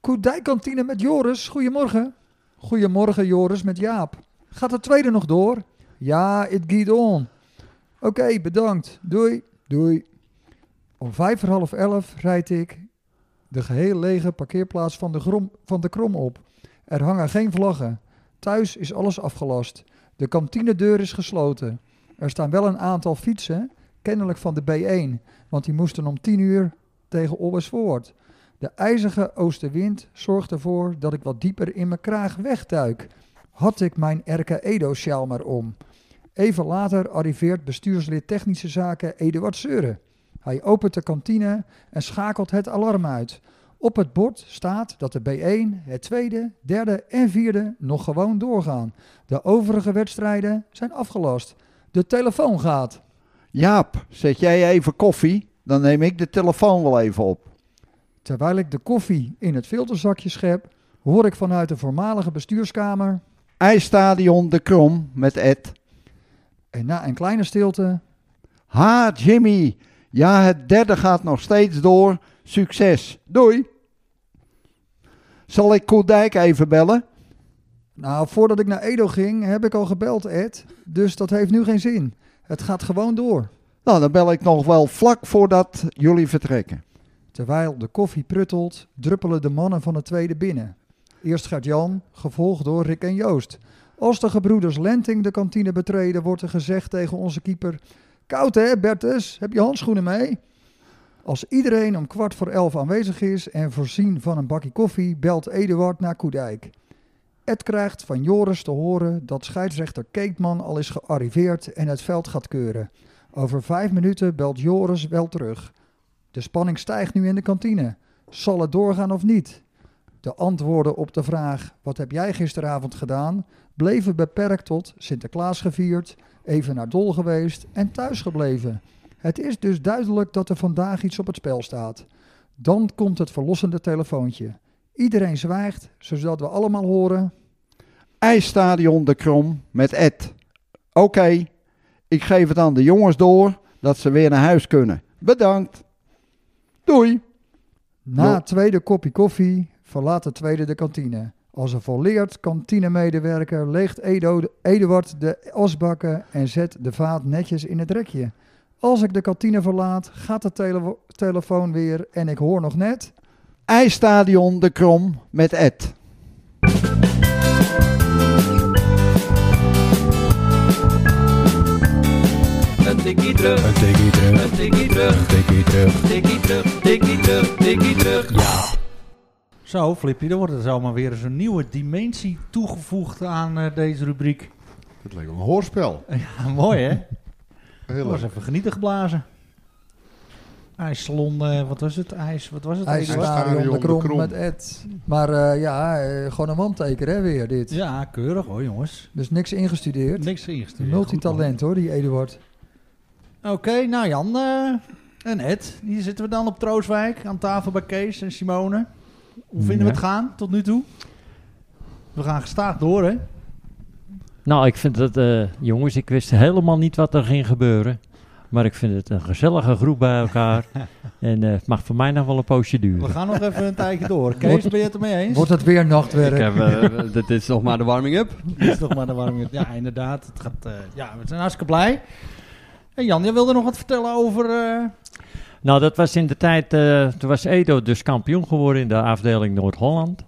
Koedijkantine met Joris. Goedemorgen. Goedemorgen Joris met Jaap. Gaat de tweede nog door? Ja, it geht on. Oké, bedankt. Doei. Doei. Om vijf voor half elf rijd ik de geheel lege parkeerplaats van de, Grom- van de Krom op. Er hangen geen vlaggen. Thuis is alles afgelast. De kantinedeur is gesloten. Er staan wel een aantal fietsen, kennelijk van de B1 want die moesten om tien uur tegen Olbersvoort. De ijzige oostenwind zorgt ervoor dat ik wat dieper in mijn kraag wegduik. Had ik mijn Erke Edo-sjaal maar om. Even later arriveert bestuurslid Technische Zaken Eduard Seuren. Hij opent de kantine en schakelt het alarm uit. Op het bord staat dat de B1, het tweede, derde en vierde nog gewoon doorgaan. De overige wedstrijden zijn afgelast. De telefoon gaat. Jaap, zet jij even koffie? Dan neem ik de telefoon wel even op. Terwijl ik de koffie in het filterzakje schep, hoor ik vanuit de voormalige bestuurskamer. IJsstadion De Krom met Ed. En na een kleine stilte. Ha, Jimmy. Ja, het derde gaat nog steeds door. Succes. Doei. Zal ik Koedijk even bellen? Nou, voordat ik naar Edo ging, heb ik al gebeld, Ed. Dus dat heeft nu geen zin. Het gaat gewoon door. Nou, dan bel ik nog wel vlak voordat jullie vertrekken. Terwijl de koffie pruttelt, druppelen de mannen van het tweede binnen. Eerst gaat Jan, gevolgd door Rick en Joost. Als de gebroeders Lenting de kantine betreden, wordt er gezegd tegen onze keeper... Koud hè, Bertus? Heb je handschoenen mee? Als iedereen om kwart voor elf aanwezig is en voorzien van een bakje koffie, belt Eduard naar Koedijk. Ed krijgt van Joris te horen dat scheidsrechter Keetman al is gearriveerd en het veld gaat keuren. Over vijf minuten belt Joris wel terug. De spanning stijgt nu in de kantine. Zal het doorgaan of niet? De antwoorden op de vraag: wat heb jij gisteravond gedaan? bleven beperkt tot Sinterklaas gevierd, even naar Dol geweest en thuis gebleven. Het is dus duidelijk dat er vandaag iets op het spel staat. Dan komt het verlossende telefoontje. Iedereen zwijgt, zodat we allemaal horen. IJsstadion de Krom met Ed. Oké, ik geef het aan de jongens door dat ze weer naar huis kunnen. Bedankt. Doei. Na Jo. het tweede kopje koffie verlaat de tweede de kantine. Als een volleerd kantinemedewerker leegt Edo, Eduard de asbakken en zet de vaat netjes in het rekje. Als ik de kantine verlaat, gaat de tele- telefoon weer en ik hoor nog net... IJsstadion de Krom met Ed. Een tikkie terug. Een tikkie terug. Een tikkie terug. Zo, Flippy, er wordt er zomaar weer eens een nieuwe dimensie toegevoegd aan eh, deze rubriek. Het leek wel een hoorspel. Ja, mooi hè? Dat Heel was leuk. even genieten geblazen. IJssalon, eh, wat was het? IJs, wat was het? IJsstadion IJsstadion de de Krom, Krom. met Ed. Maar eh, ja, eh, gewoon een wandteker hè, weer dit. Ja, keurig hoor jongens. Dus niks ingestudeerd. Niks ingestuurd. Multitalent hoor, die Eduard. Oké, nou Jan eh, en Ed, hier zitten we dan op Trooswijk aan tafel bij Kees en Simone. Hoe vinden we Ja. het gaan tot nu toe? We gaan gestaag door, hè? Nou, ik vind dat, eh, jongens, ik wist helemaal niet wat er ging gebeuren. Maar ik vind het een gezellige groep bij elkaar. en eh, het mag voor mij nog wel een poosje We duren. gaan nog even een tijdje door. Kees, ben je het ermee eens? Wordt het weer nachtwerk? Ik heb, eh, dit is nog maar de warming-up. Dit is toch maar de warming. Ja, inderdaad. Het gaat, eh, ja, we zijn hartstikke blij. En Jan, jij wilde nog wat vertellen over... eh, Nou, dat was in de tijd, eh, toen was Edo dus kampioen geworden in de afdeling Noord-Holland.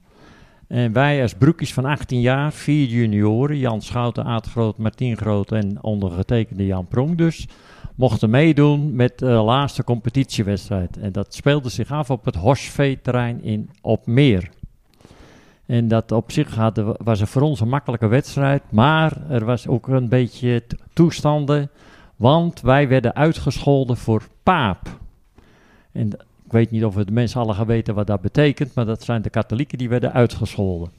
En wij als broekjes van 18 jaar, vier junioren, Jan Schouten, Aad Groot, Martien Groot en ondergetekende Jan Prong dus, mochten meedoen met de laatste competitiewedstrijd. En dat speelde zich af op het Horsveeterrein in Opmeer. En dat op zich hadden, we- was het voor ons een makkelijke wedstrijd, maar er was ook een beetje t- toestanden, want wij werden uitgescholden voor paap. En d- ik weet niet of de mensen alle gaan weten wat dat betekent, maar dat zijn de katholieken die werden uitgescholden.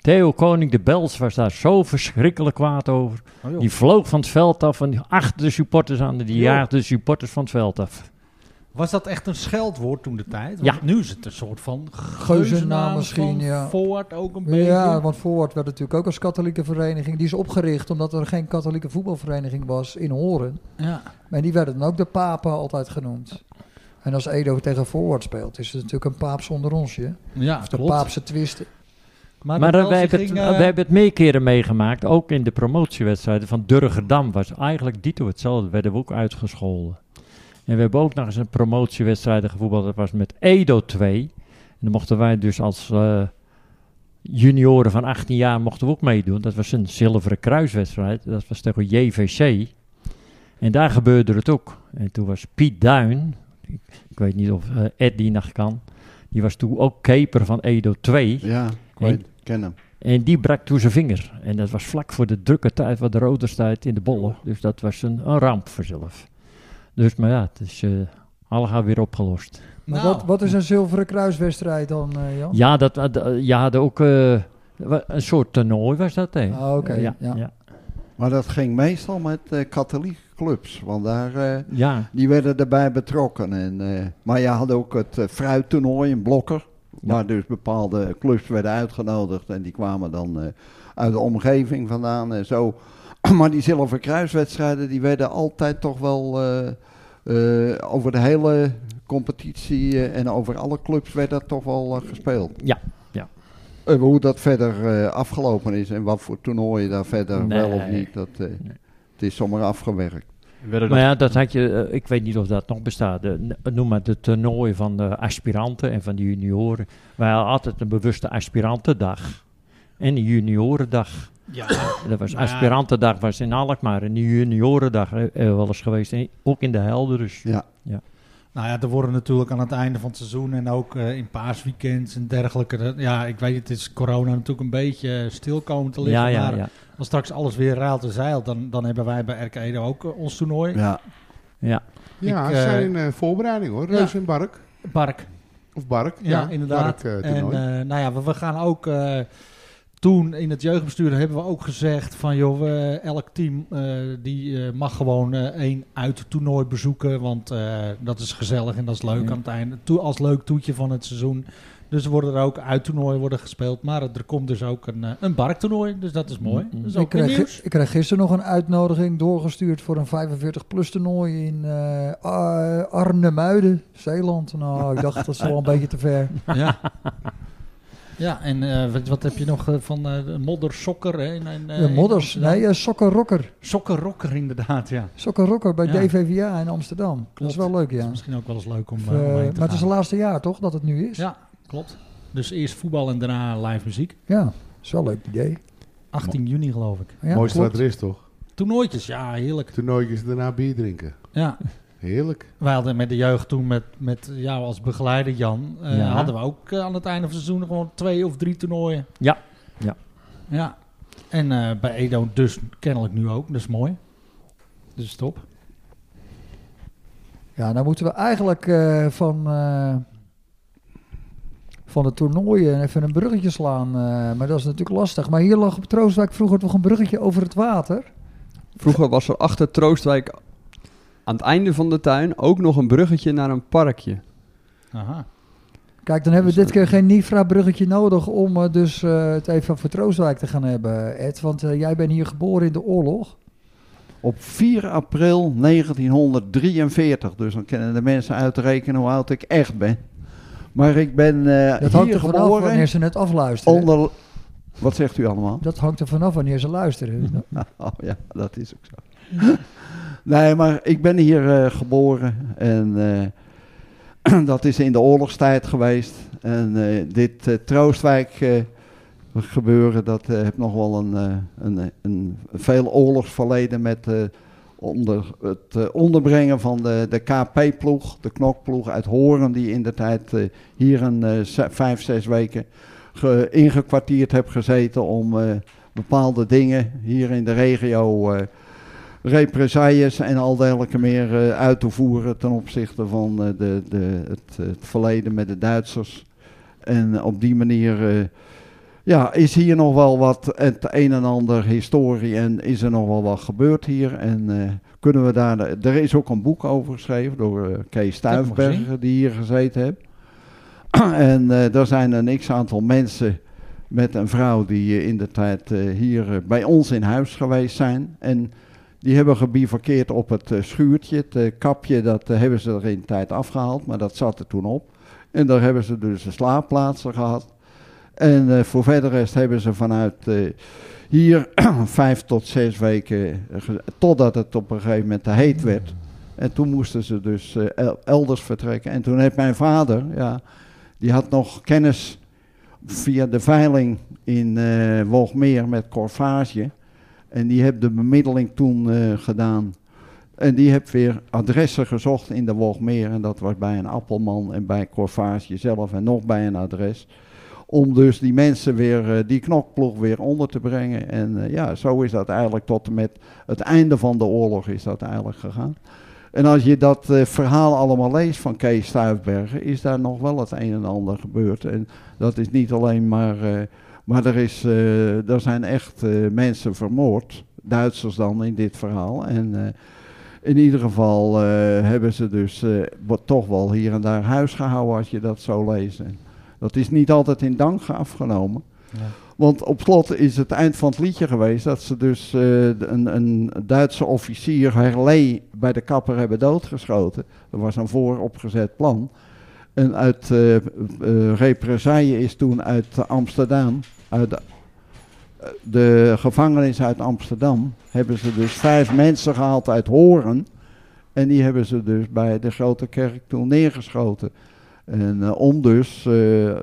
Theo Koning de Bels was daar zo verschrikkelijk kwaad over. Oh, joh. die vloog van het veld af en die achter de supporters aan, die Joh. jaagde de supporters van het veld af. was dat echt een scheldwoord toen de tijd? Ja. Nu is het een soort van Geuzennaam misschien, van ja. Voort ook een beetje. Ja, want Forward werd natuurlijk ook als katholieke vereniging. Die is opgericht omdat er geen katholieke voetbalvereniging was in Horen. Ja. Maar die werden dan ook de papen altijd genoemd. En als Edo tegen Forward speelt, is het natuurlijk een paap zonder onsje. Ja, Of de klopt. paapse twisten. Maar de eh, wij, Belgen hebben het, gingen, wij hebben het meer keren meegemaakt, ook in de promotiewedstrijden van Durgerdam was eigenlijk dito hetzelfde, werden we ook uitgescholden. En we hebben ook nog eens een promotiewedstrijd gevoetbald, dat was met Edo 2. En dan mochten wij dus als eh, junioren van 18 jaar mochten we ook meedoen. Dat was een zilveren kruiswedstrijd, dat was tegen JVC. En daar gebeurde het ook. En toen was Piet Duin, ik, ik weet niet of eh, Ed die nog kan, die was toen ook keeper van Edo 2. Ja, ik Hey. weet- ken hem. En die brak toen zijn vinger. En dat was vlak voor de drukke tijd, wat de rode tijd in de bollen. Dus dat was een, een ramp voor zelf. Dus maar ja, het is eh alga weer opgelost. Maar Nou. wat, wat is een zilveren kruiswedstrijd dan, eh, Jan? Ja, dat, eh, d- je had ook eh, wa- een soort toernooi was dat, hè? Ah, Oké, ja, ja. ja. ja. Maar dat ging meestal met eh, katholieke clubs. Want daar, eh, ja. die werden erbij betrokken. En, eh, maar je had ook het eh, fruittoernooi in Blokker. Waar dus bepaalde clubs werden uitgenodigd. En die kwamen dan eh, uit de omgeving vandaan en zo. Maar die Zilveren Kruiswedstrijden die werden altijd toch wel eh, eh, over de hele competitie eh, en over alle clubs werd dat toch wel eh, gespeeld. Ja, ja. Eh, hoe dat verder eh, afgelopen is en wat voor toernooien daar verder Nee. wel of niet, dat, eh, het is zomaar afgewerkt. Maar ja, dat had je, eh, ik weet niet of dat nog bestaat. De, n- noem maar de toernooi van de aspiranten en van de junioren. Wij hadden altijd een bewuste aspirantendag en een juniorendag. Ja, Dat was Nou ja. aspirantendag was in Alkmaar en die juniorendag eh, eh, wel eens geweest. En ook in de helder dus. Ja. Nou ja, er worden natuurlijk aan het einde van het seizoen en ook eh, in paasweekends en dergelijke. dat- ja, ik weet het is corona natuurlijk een beetje eh, stil komen te liggen. Ja, ja, maar ja. als straks alles weer raalt en zeilt, dan, dan hebben wij bij RK Edo ook eh, ons toernooi. Ja. ja. Ja, Ik, ze eh, zijn in eh, voorbereiding hoor. Ja. Reus en Bark. Bark. Of Bark. Ja, inderdaad. Bark, eh, en toernooi. eh, nou ja, we, we gaan ook... eh, toen in het jeugdbestuur hebben we ook gezegd van joh, we- elk team eh, die eh, mag gewoon eh, één uittoernooi bezoeken. Want eh, dat is gezellig en dat is leuk Ja. aan het einde. Toe, als leuk toetje van het seizoen. Dus er worden er ook uittoernooien worden gespeeld. Maar er komt dus ook een, eh, een barktoernooi. Dus dat is mooi. Mhm. Dat is Ik ook weer kreeg, nieuws. gi- ik kreeg gisteren nog een uitnodiging doorgestuurd voor een 45-plus toernooi in eh Ar- Arnhemuiden, Zeeland. Nou, ik dacht dat is wel een beetje te ver. Ja. Ja, en eh, wat, wat heb je nog eh, van eh modder, sokker? hè, En, en, eh, Ja, modders, in Amsterdam? nee, eh, Sokker Rocker. Sokkerrokker inderdaad, ja. Sokker Rocker bij Ja. DVVA in Amsterdam. Dat Klopt. is wel leuk, Dat ja. is misschien ook wel eens leuk om, Of, eh, eh, omheen te maar het is gaan. het laatste jaar toch dat het nu is? Ja, klopt. Dus eerst voetbal en daarna live muziek. Ja, dat is wel een leuk idee. 18 juni geloof ik. Ja, Mooiste klopt. wat er is toch? Toernooitjes, ja, heerlijk. Toernooitjes en daarna bier drinken. Ja, Heerlijk. wij hadden met de jeugd toen met, met jou als begeleider, Jan, eh, Ja. hadden we ook eh, aan het einde van het seizoen gewoon twee of drie toernooien. Ja, ja. Ja, en eh, bij Edo dus kennelijk nu ook, dat is mooi. Dus top. Ja, nou moeten we eigenlijk eh, van, eh, van de toernooien even een bruggetje slaan. eh, maar dat is natuurlijk lastig. Maar hier lag op Troostwijk vroeger toch een bruggetje over het water. Vroeger was er achter Troostwijk aan het einde van de tuin ook nog een bruggetje naar een parkje. Aha. Kijk, dan hebben we dit keer geen Nifra-bruggetje nodig om eh, dus eh, het even over Troostwijk te gaan hebben, Ed. Want eh, jij bent hier geboren in de oorlog. Op 4 april 1943, dus dan kunnen de mensen uitrekenen hoe oud ik echt ben. Maar ik ben eh, Dat hangt hier er vanaf wanneer geboren ze het afluisteren. onder... Wat zegt u allemaal? Dat hangt er vanaf wanneer ze luisteren. Oh ja, dat is ook zo. nee, maar ik ben hier eh, geboren en eh, dat is in de oorlogstijd geweest. En eh, dit eh, Troostwijk eh, gebeuren, dat eh, heeft nog wel een, eh, een, een veel oorlogsverleden met eh, onder, het eh, onderbrengen van de, de KP-ploeg, de knokploeg uit Horen, die in de tijd eh, hier een eh, ze- vijf, zes weken ge- ingekwartierd heb gezeten om... eh, bepaalde dingen hier in de regio, eh represailles en al dergelijke meer eh, uit te voeren ten opzichte van eh, de, de, het, eh, het verleden met de Duitsers. En op die manier eh, ja, is hier nog wel wat het een en ander historie en is er nog wel wat gebeurd hier. En eh, kunnen we daar, er is ook een boek over geschreven door eh, Kees heb ik nog Stuifberger die hier gezeten heeft. en eh er zijn een x-aantal mensen met een vrouw die eh, in de tijd eh, hier eh, bij ons in huis geweest zijn. En die hebben gebivakkeerd op het eh, schuurtje. Het eh, kapje dat eh, hebben ze er in de tijd afgehaald, maar dat zat er toen op. En daar hebben ze dus de slaapplaatsen gehad. En eh, voor verder rest hebben ze vanuit eh, hier vijf tot zes weken, eh, ge- totdat het op een gegeven moment te heet werd. En toen moesten ze dus eh, el- elders vertrekken. En toen heeft mijn vader, ja, die had nog kennis via de veiling in eh Woogmeer met Corvage. En die heb de bemiddeling toen eh, gedaan. En die heb weer adressen gezocht in de Woogmeer. En dat was bij een appelman en bij Corvage zelf en nog bij een adres. Om dus die mensen weer, eh, die knokploeg weer onder te brengen. En eh, ja, zo is dat eigenlijk tot en met het einde van de oorlog is dat eigenlijk gegaan. En als je dat eh, verhaal allemaal leest van Kees Stuifbergen, is daar nog wel het een en ander gebeurd. En dat is niet alleen maar. eh, maar er, is, eh, er zijn echt eh, mensen vermoord. Duitsers dan in dit verhaal. En eh, in ieder geval eh, hebben ze dus eh, wat toch wel hier en daar huis gehouden als je dat zo leest. En dat is niet altijd in dank afgenomen. Ja. Want op slot is het eind van het liedje geweest dat ze dus eh, de- een, een Duitse officier Herlee bij de kapper hebben doodgeschoten. Dat was een vooropgezet plan. En uit eh eh, represaille is toen uit Amsterdam, uit de, eh, de gevangenis uit Amsterdam, hebben ze dus vijf mensen gehaald uit Horen. En die hebben ze dus bij de grote kerk toen neergeschoten. En eh, om dus eh,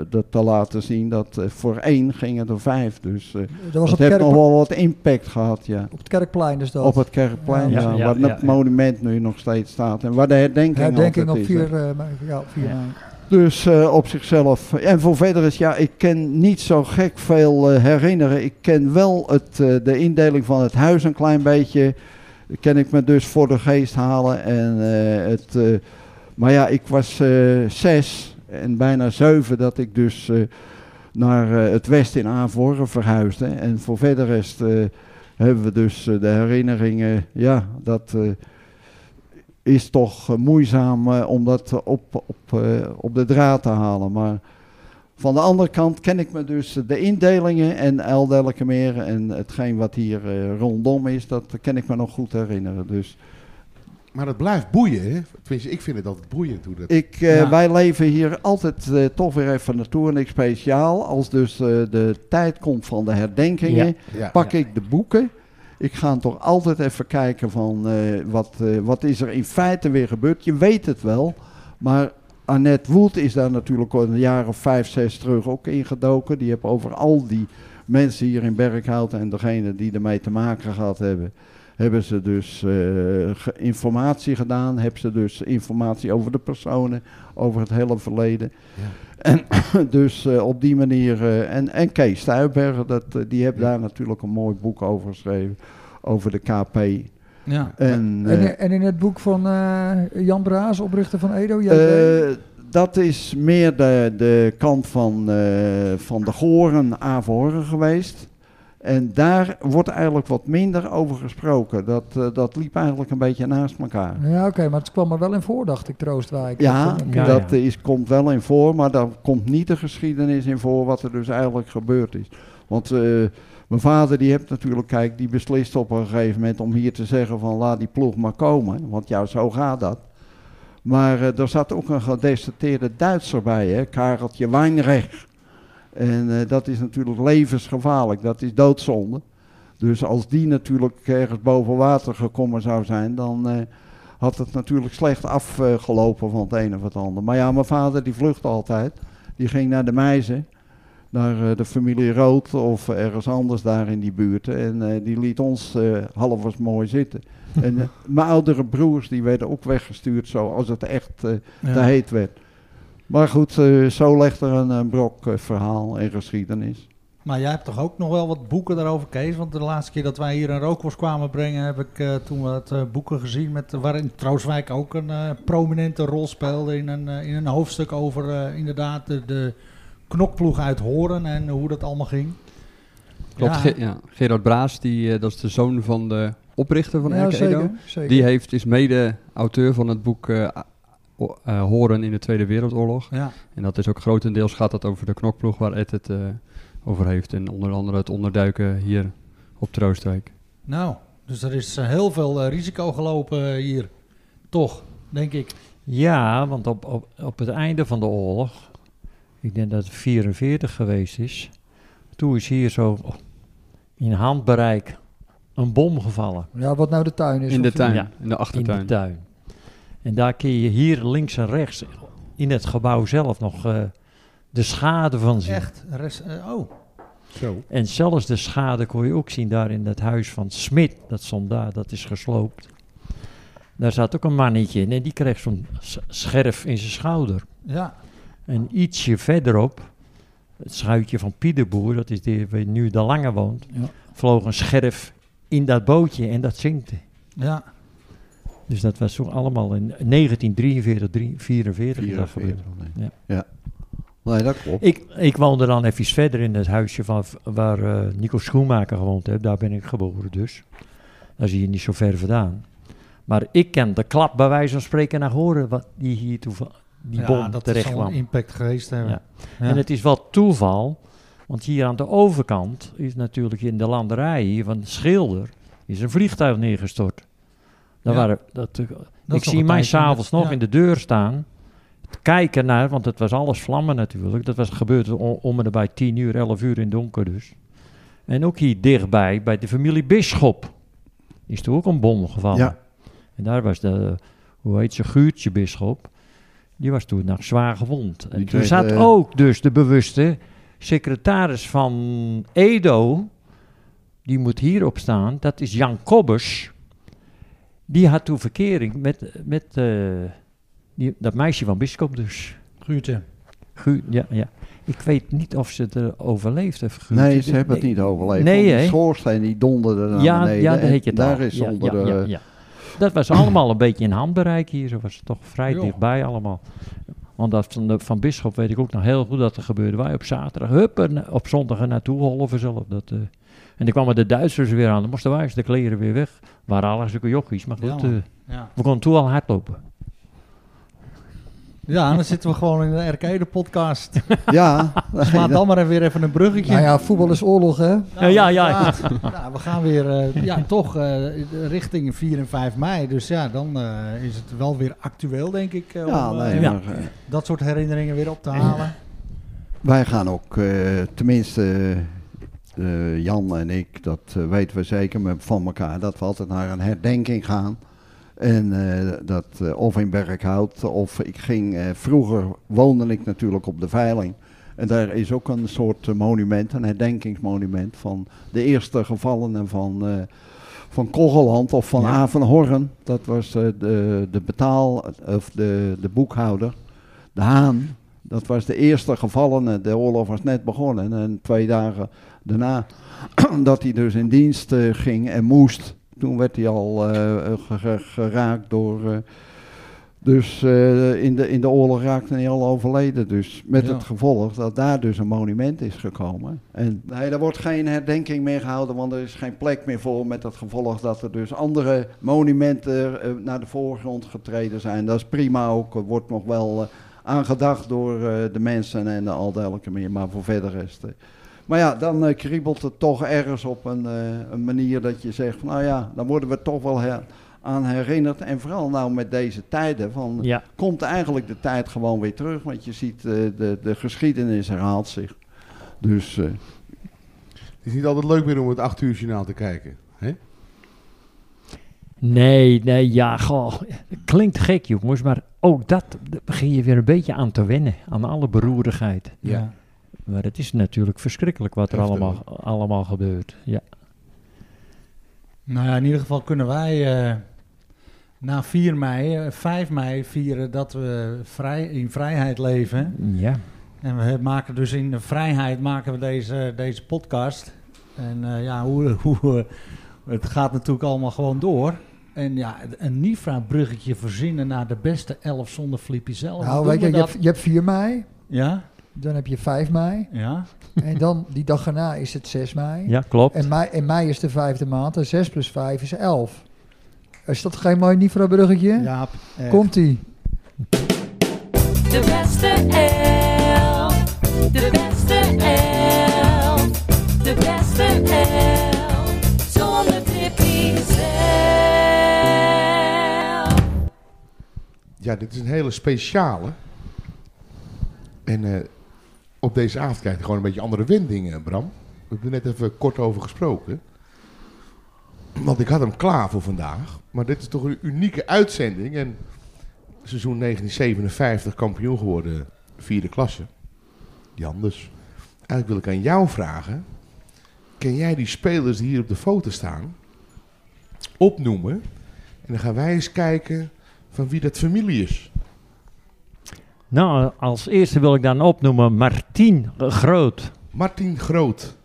dat te laten zien dat eh, voor één gingen er vijf. Dus eh, Dat was dat op, heeft kerk, nog wel wat impact gehad, ja. op het kerkplein dus dat. Op het kerkplein, Ja, ja, ja, waar ja, het ja. monument nu nog steeds staat. En waar de herdenking, Herdenking op altijd is, hè. 4 eh, mei. Ja, op 4 Ja. mei. Dus eh, op zichzelf. En voor verder is, ja, ik ken niet zo gek veel eh, herinneren. Ik ken wel het, eh, de indeling van het huis een klein beetje. Ken ik me dus voor de geest halen. En, eh, het, eh, maar ja, ik was eh, zes en bijna zeven dat ik dus eh, naar eh, het west in Aanvoren verhuisde. En voor verder rest eh, hebben we dus eh, de herinneringen, ja, dat... eh, is toch eh, moeizaam eh, om dat eh, op, op, eh, op de draad te halen. Maar Van de andere kant ken ik me dus de indelingen en Eldelke meer en hetgeen wat hier eh, rondom is, dat ken ik me nog goed herinneren. Dus Maar het blijft boeien, hè? Tenminste, ik vind het altijd boeiend hoe dat... ik, eh, Ja. wij leven hier altijd eh, toch weer even naartoe en ik speciaal, als dus eh, de tijd komt van de herdenkingen, Ja. Ja. pak ik de boeken. Ik ga toch altijd even kijken van eh, wat, eh, wat is er in feite weer gebeurd. Je weet het wel, maar Annette Wood is daar natuurlijk al een jaar of vijf, zes terug ook ingedoken. Die heeft over al die mensen hier in Berkhout en degene die ermee te maken gehad hebben, hebben ze dus eh, ge- informatie gedaan. Hebben ze dus informatie over de personen, over het hele verleden. Ja. En dus eh, op die manier. eh, en, en Kees Stuybergen, dat, eh, die heeft daar natuurlijk een mooi boek over geschreven. Over de KP. Ja. En, eh, En, en in het boek van eh, Jan Braas, oprichter van Edo, jij Eh, dat is meer de, de kant van, eh, van de Goren, Avoren geweest. En daar wordt eigenlijk wat minder over gesproken. Dat, eh, dat liep eigenlijk een beetje naast elkaar. Ja, oké, maar het kwam er wel in voor, dacht ik, Troostwijk. Ja, Dat, eh, Ja, dat ja. Is, komt wel in voor, maar daar komt niet de geschiedenis in voor wat er dus eigenlijk gebeurd is. Want eh, mijn vader die heeft natuurlijk, kijk, die beslist op een gegeven moment om hier te zeggen van laat die ploeg maar komen, want ja, zo gaat dat. Maar eh, er zat ook een gedestateerde Duitser bij, hè, Kareltje Weinrecht. En eh, dat is natuurlijk levensgevaarlijk, dat is doodzonde. Dus als die natuurlijk ergens boven water gekomen zou zijn, dan... eh, had het natuurlijk slecht afgelopen van het een of het ander. Maar ja, mijn vader die vluchtte altijd. Die ging naar de Meizen, naar eh, de familie Rood of ergens anders daar in die buurt. En eh, die liet ons eh halvers mooi zitten. en eh, mijn oudere broers die werden ook weggestuurd zo als het echt eh, te Ja. heet werd. Maar goed, eh, zo legt er een, eh, brok eh, verhaal en geschiedenis. Maar jij hebt toch ook nog wel wat boeken daarover, Kees? Want de laatste keer dat wij hier een rookworst kwamen brengen, heb ik eh, toen wat eh, boeken gezien met, waarin Trooswijk ook een eh, prominente rol speelde in een, eh, in een hoofdstuk over eh, inderdaad de, de knokploeg uit Horen en hoe dat allemaal ging. Klopt, Ja. Ge- ja. Gerard Braas, die, eh, dat is de zoon van de oprichter van ja, Erke Edo. zeker, zeker. Die heeft, is mede-auteur van het boek eh, A- O- eh, Horen in de Tweede Wereldoorlog. Ja. En dat is ook grotendeels gaat dat over de knokploeg waar Ed het eh, over heeft. En onder andere het onderduiken hier op Troostwijk. Nou, dus er is eh, heel veel eh, risico gelopen eh, hier. Toch, denk ik. Ja, want op, op, op het einde van de oorlog, ik denk dat het 44 geweest is, toen is hier zo in handbereik een bom gevallen Ja, wat nou de tuin is. In de of- tuin, Ja. in de in achtertuin. de tuin. En daar kun je hier links en rechts in het gebouw zelf nog eh, de schade van zien. Echt. Res, eh, oh, Zo. En zelfs de schade kon je ook zien daar in dat huis van Smit. Dat stond daar, dat is gesloopt. Daar zat ook een mannetje in en die kreeg zo'n s- scherf in zijn schouder. ja. En ietsje verderop, het schuitje van Piederboer, dat is die waar nu de Lange woont, Ja. vloog een scherf in dat bootje en dat zinkte. Ja, Dus dat was toen allemaal in 1943, 44 is dat gebeurd. 44, nee. Ja. Ja. Nee, dat klopt. Ik, ik woonde dan even verder in het huisje van, v- waar eh, Nico Schoenmaker gewoond heeft. Daar ben ik geboren dus. Dat is hier niet zo ver vandaan. Maar ik ken de klap bij wijze van spreken naar horen wat die hier toen va- die ja bom dat terecht zal kwam. een impact geweest hebben. Ja. Ja. En het is wat toeval, want hier aan de overkant is natuurlijk in de landerij hier van Schilder is een vliegtuig neergestort. Daar Ja. waren, dat, eh, nog ik zie een mij tijdje, s'avonds ja. nog in de deur staan, te kijken naar, want het was alles vlammen natuurlijk. Dat was gebeurd o- om en bij 10 uur, 11 uur in het donker dus. En ook hier dichtbij, bij de familie Bisschop, is er ook een bom gevallen. Ja. En daar was de, hoe heet ze, Guurtje Bisschop. Die was toen nog zwaar gewond. En Die toen kreeg, zat eh, ook dus de bewuste secretaris van Edo. Die moet hierop staan. Dat is Jan Kobbers. Die had toen verkering met, met eh, die, dat meisje van Bisschop dus. Guurtje. Gu- ja, ja. Ik weet niet of ze het eh, overleefd heeft. Guurtje. Nee, ze hebben het niet overleefd. Nee, want hè? die schoorsteen die donderde naar Ja, beneden. ja, dat en heet je daar al. is eh, Ja, onder ja, de... ja, ja. Dat was allemaal een beetje in handbereik hier. Zo was het toch vrij Joh. dichtbij allemaal. Want dat van, de- van Bisschop weet ik ook nog heel goed dat er gebeurde. Wij op zaterdag, hup, er na- op zondag er naartoe holven zelf. Dat, eh. En dan kwamen de Duitsers weer aan. Dan moesten wij eens de kleren weer weg. Waren alles zulke jochies. Maar goed, Ja, man. eh, Ja. we konden toen al hardlopen. Ja, dan zitten we gewoon in de arcade-podcast. Ja, Laat dan maar even weer even een bruggetje. Nou ja, voetbal is oorlog, hè? Nou, Ja, ja, inderdaad. Nou, we gaan weer eh, ja, toch eh, richting 4 en 5 mei. Dus ja, dan eh, is het wel weer actueel, denk ik. eh, ja, om nee, eh, ja. maar, eh, dat soort herinneringen weer op te halen. wij gaan ook, eh, tenminste eh, eh, Jan en ik, dat eh, weten we zeker met- van elkaar, dat we altijd naar een herdenking gaan. En eh, dat eh, of in Berkhout of ik ging, eh, vroeger woonde ik natuurlijk op de Veiling. En daar is ook een soort eh, monument, een herdenkingsmonument van de eerste gevallenen van, eh van Kogeland of van Ja. Avenhorn. Dat was eh, de, de betaal, eh, of de, de boekhouder, de Haan. Dat was de eerste gevallene. De oorlog was net begonnen. En twee dagen daarna dat hij dus in dienst eh, ging en moest. Toen werd hij al eh, eh, ge- ge- geraakt door. eh, dus eh, in, de, in de oorlog raakte hij al overleden. Dus met Ja. het gevolg dat daar dus een monument is gekomen. En nee, er wordt geen herdenking meer gehouden, want er is geen plek meer voor. Met het gevolg dat er dus andere monumenten eh, naar de voorgrond getreden zijn. Dat is prima ook. Er wordt nog wel eh, aangedacht door eh, de mensen en eh, al dergelijke meer. Maar voor verder is het. eh, maar ja, dan eh, kriebelt het toch ergens op een, eh, een manier dat je zegt: van, Nou ja, dan worden we toch wel her- aan herinnerd. En vooral nou met deze tijden. Van, Ja, Komt eigenlijk de tijd gewoon weer terug? Want je ziet, eh, de, de geschiedenis herhaalt zich. Dus eh, Het is niet altijd leuk meer om het 8 uur journaal te kijken. Hè? nee, nee, ja, goh. Klinkt gek, jongens, maar ook dat daar begin je weer een beetje aan te wennen. Aan alle beroerigheid. Ja. Maar het is natuurlijk verschrikkelijk wat er Heftig, allemaal, allemaal gebeurt. Ja. Nou ja, in ieder geval kunnen wij eh, na 4 mei, eh, 5 mei vieren dat we vrij, in vrijheid leven. ja. En we maken dus in de vrijheid maken we deze, deze podcast. En eh, ja, hoe, hoe, eh, het gaat natuurlijk allemaal gewoon door. En ja, een Nifra-bruggetje verzinnen naar de beste elf zonder Flippy zelf. nou, Doen weet we je, je dat? hebt, je hebt 4 mei, Ja, dan heb je 5 mei. ja. en dan, die dag erna is het 6 mei. ja, klopt. En mei, en mei is de vijfde maand en 6 plus 5 is 11. Is dat geen mooi Nifra-bruggetje? Jaap, eh, Komt-ie. De beste eh, elf. De beste elf. De beste elf. Zonder trippie zelf. Ja, dit is een hele speciale. En eh, op deze avond krijgt hij gewoon een beetje andere wendingen, Bram. We hebben er net even kort over gesproken. Want ik had hem klaar voor vandaag. Maar dit is toch een unieke uitzending. En seizoen 1957 kampioen geworden, vierde klasse. Jan dus. Eigenlijk wil ik aan jou vragen. Ken jij die spelers die hier op de foto staan? Opnoemen. En dan gaan wij eens kijken van wie dat familie is. Nou, als eerste wil ik dan opnoemen Martien Groot. Martin Groot.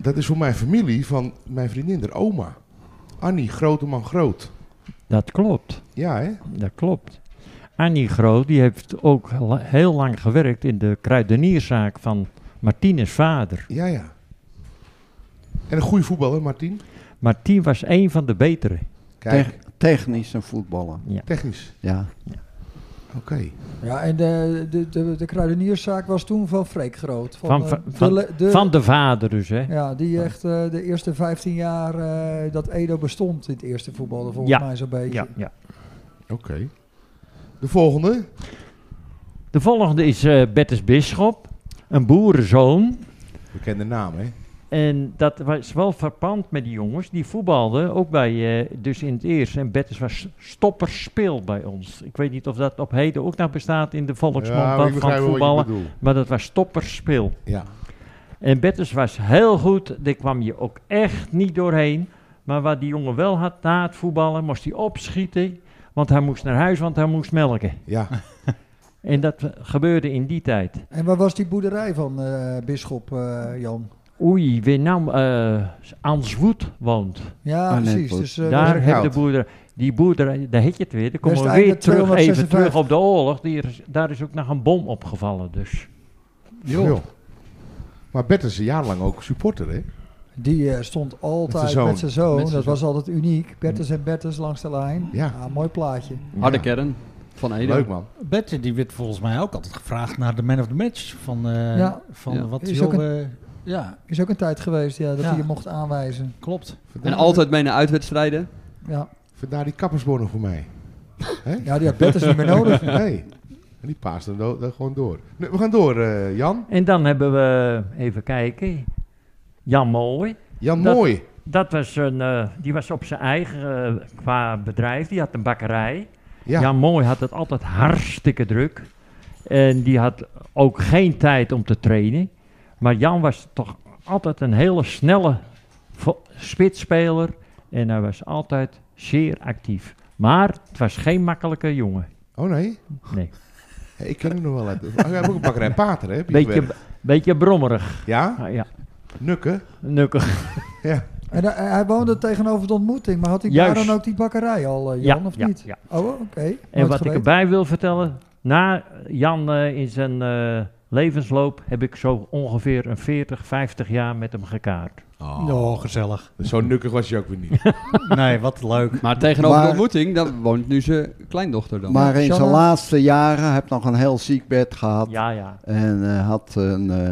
Dat is voor mijn familie van mijn vriendin, de oma. Annie Groteman Groot. Dat klopt. Ja, hè? Dat klopt. Annie Groot die heeft ook la- heel lang gewerkt in de kruidenierszaak van Martines vader. Ja, ja. En een goede voetballer, Martin. Martien was een van de betere. Kijk, tech- technisch een voetballer. technisch. Ja. Oké. Ja, en de, de, de, de kruidenierszaak was toen van Freek Groot. Van- eh, van- de van- le- de- Van de vader dus, hè? Ja, die echt eh, de eerste 15 jaar eh, dat Edo bestond in het eerste voetballen, volgens Ja. mij zo'n beetje. Ja, ja. Oké. De volgende. De volgende is eh Bertus Bisschop, een boerenzoon. Bekende naam, hè? En dat was wel verpand met die jongens. Die voetbalden ook bij, eh, dus in het eerste. En Bertus was stopperspeel bij ons. Ik weet niet of dat op heden ook nog bestaat in de volksmond Ja, maar van- ik van begrijp wel wat voetballen. je bedoelt. Maar dat was stopperspeel. Ja. En Bertus was heel goed. Daar kwam je ook echt niet doorheen. Maar wat die jongen wel had na het voetballen, moest hij opschieten. Want hij moest naar huis, want hij moest melken. Ja. En dat eh, gebeurde in die tijd. En waar was die boerderij van eh Bisschop, eh, Jan? Oei, wie nam eh Answoed woont. Ja, Ah, nee, precies. goed. Dus, eh, Daar Berghout. heeft de boerderij, die boerderij, daar heb je het weer. Dan komen we Westeinde weer terug, even 256. terug op de oorlog. Die is- daar is ook nog een bom opgevallen dus. Joh. Maar Bert is een jaar lang ook supporter, hè? die eh, stond altijd zoon. met zijn zoon. Met zijn dat was altijd uniek. Bertus en Bertus langs de lijn. Ja. mooi plaatje. Harde kern. Van Edo. Leuk man. Bette, die werd volgens mij ook altijd gevraagd naar de man of the match. Van, eh, Ja. van Ja. wat Is wil... ook een- eh, ja, Is ook een tijd geweest ja, dat Ja. hij je mocht aanwijzen. klopt. En altijd mee naar uitwedstrijden. Ja, Vandaar die kappersbonnen voor mij. ja die had Bertus niet meer nodig. Nee. En die paast er do- er gewoon door. Nee, we gaan door, eh, Jan. En dan hebben we, even kijken, Jan Mooi. Jan Dat- Mooi. Dat was een, eh, die was op zijn eigen eh, qua bedrijf, die had een bakkerij. Ja. Jan Mooi had het altijd hartstikke druk. En die had ook geen tijd om te trainen. Maar Jan was toch altijd een hele snelle vo- spitsspeler. En hij was altijd zeer actief. Maar het was geen makkelijke jongen. Oh nee. Nee. Hey, ik ken hem nog wel uit. Oh, jij hebt ook een bakkerij Pater, hè? heb je Beetje, gewerkt. beetje brommerig. Ja? Ah, ja, Nukken. nukkig. En hij, hij woonde tegenover de ontmoeting, maar had hij daar Juist. dan ook die bakkerij al, eh, Ja, Jan, of ja, niet? ja. Oh, oké. En Nooit wat ik geweten. erbij wil vertellen, na Jan eh, in zijn eh, levensloop heb ik zo ongeveer een 40, 50 jaar met hem gekaart. Oh, gezellig. Zo nukkig was je ook weer niet. Nee, wat leuk. Maar tegenover de Maar- ontmoeting, daar woont nu zijn kleindochter dan. Maar in zijn Shanna? laatste jaren heb nog een heel ziek bed gehad. Ja, ja. En eh, had een eh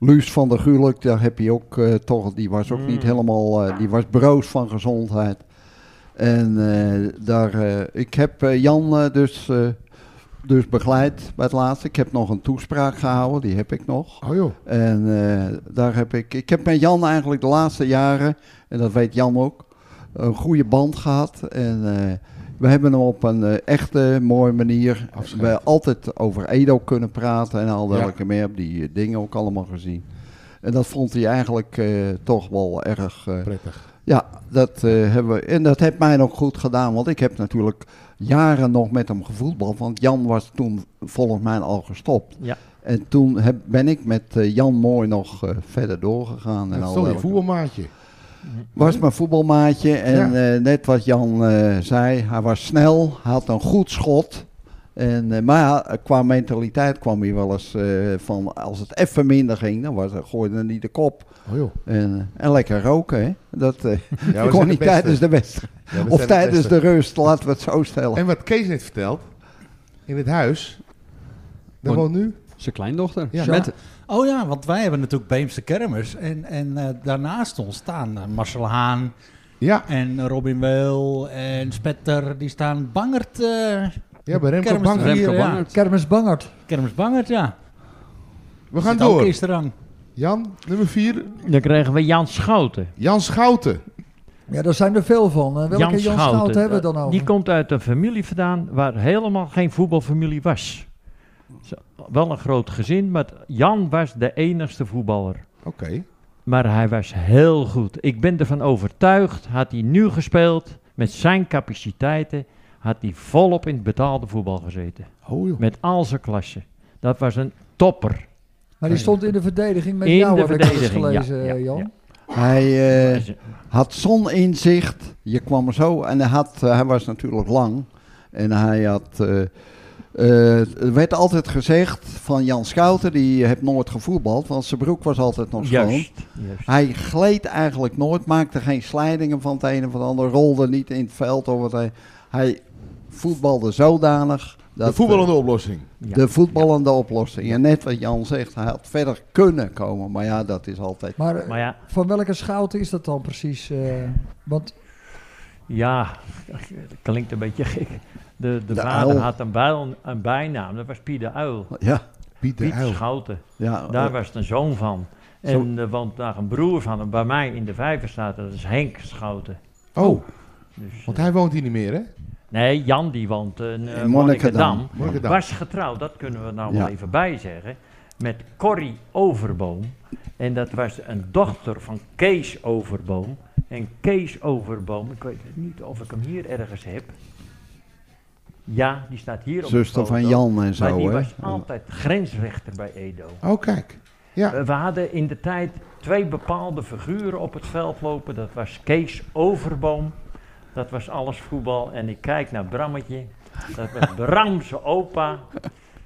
Luus van der Gulik, daar heb je ook eh, toch, die was ook niet Mm. helemaal, eh, die was broos van gezondheid. En eh, daar, eh, ik heb eh, Jan eh, dus, eh, dus begeleid bij het laatste. Ik heb nog een toespraak gehouden, die heb ik nog. Oh joh. En eh, daar heb ik, ik heb met Jan eigenlijk de laatste jaren, en dat weet Jan ook, een goede band gehad. En eh, we hebben hem op een eh, echte mooie manier Afscheid. we altijd over Edo kunnen praten en al Ja. welke meer. Heb die eh, dingen ook allemaal gezien. En dat vond hij eigenlijk eh, toch wel erg. eh, Prettig. ja, dat eh, hebben we. En dat heeft mij nog goed gedaan, want ik heb natuurlijk jaren nog met hem gevoetbald. Want Jan was toen volgens mij al gestopt. Ja. En toen heb, ben ik met eh, Jan Mooi nog eh, verder doorgegaan. En Dat al is toch je welke- voetbalmaatje. was mijn voetbalmaatje. En eh, net wat Jan eh, zei, hij was snel, hij had een goed schot. En, eh, maar hij- qua mentaliteit kwam hij wel eens eh, van als het even minder ging, dan was, eh, gooide hij niet de kop. Oh joh. En, eh, en lekker roken, hè? Dat eh, Ja, we kon zijn de niet beste. tijdens de wedstrijd. Ja, we zijn Of tijdens beste. de rust, laten we het zo stellen. En wat Kees net vertelt, in het huis, daar Woon- woont nu. Zijn kleindochter. Ja. Met, Oh ja, want wij hebben natuurlijk Beemse Kermis. En, en eh, daarnaast ons staan eh, Marcel Haan Ja, en Robin Weel en Spetter. Die staan bangert. eh, ja bij Remco Kermis- Bank. Rem- Remco Hier, ja. Bangert. Kermis Bangert. Kermis bangert, ja. We gaan Zit Ook door. eerste rang. Jan, nummer 4. Dan kregen we Jan Schouten. Jan Schouten. Ja, daar zijn er veel van. Eh, Welke Jan, Schouten hebben we dan eh, over? Die komt uit een familie vandaan waar helemaal geen voetbalfamilie was. Zo, Wel een groot gezin, maar Jan was de enigste voetballer. Oké. Maar hij was heel goed. Ik ben ervan overtuigd, had hij nu gespeeld, met zijn capaciteiten, had hij volop in het betaalde voetbal gezeten. Oh joh. Met al zijn klasse. Dat was een topper. maar die stond in de verdediging met In jou, de heb ik wel eens verdediging, ja, gelezen, ja, eh, Jan. ja. Hij eh, Dus, eh, had zoninzicht. Je kwam er zo en hij, had, eh, hij was natuurlijk lang. En hij had. eh, eh, er werd altijd gezegd van Jan Schouten, die heeft nooit gevoetbald, want zijn broek was altijd nog schoon. juist, juist. Hij gleed eigenlijk nooit, maakte geen slijdingen van het een of het ander, rolde niet in het veld of wat hij. Hij voetbalde zodanig. Dat, eh, de voetballende oplossing. Ja. de voetballende oplossing. En net wat Jan zegt, hij had verder kunnen komen, maar ja, dat is altijd. Maar, eh, Maar ja, van welke Schouten is dat dan precies? eh, want ja, dat klinkt een beetje gek. De, de, De vader uil. had een, buil, een bijnaam, dat was Piet de Uil. Ja, Piet de Piet Uil. Schouten, ja, daar eh, was de zoon van. En er woont daar een broer van hem bij mij in de Vijverstraat, dat is Henk Schouten. Oh, Dus, want eh, hij woont hier niet meer, hè? nee, Jan die woont in eh, In Monnikendam. Monnikendam. Morgen Was getrouwd, dat kunnen we nou Ja. wel even bijzeggen. Met Corrie Overboom. En dat was een dochter van Kees Overboom. En Kees Overboom, ik weet niet of ik hem hier ergens heb. Ja, die staat hier op de zuster van foto. Jan en zo. Maar die hè? was altijd grensrechter bij Edo. Oh, kijk. Ja. We, we hadden in de tijd twee bepaalde figuren op het veld lopen. Dat was Kees Overboom. Dat was alles voetbal. En ik kijk naar Brammetje. Dat was Bramse opa.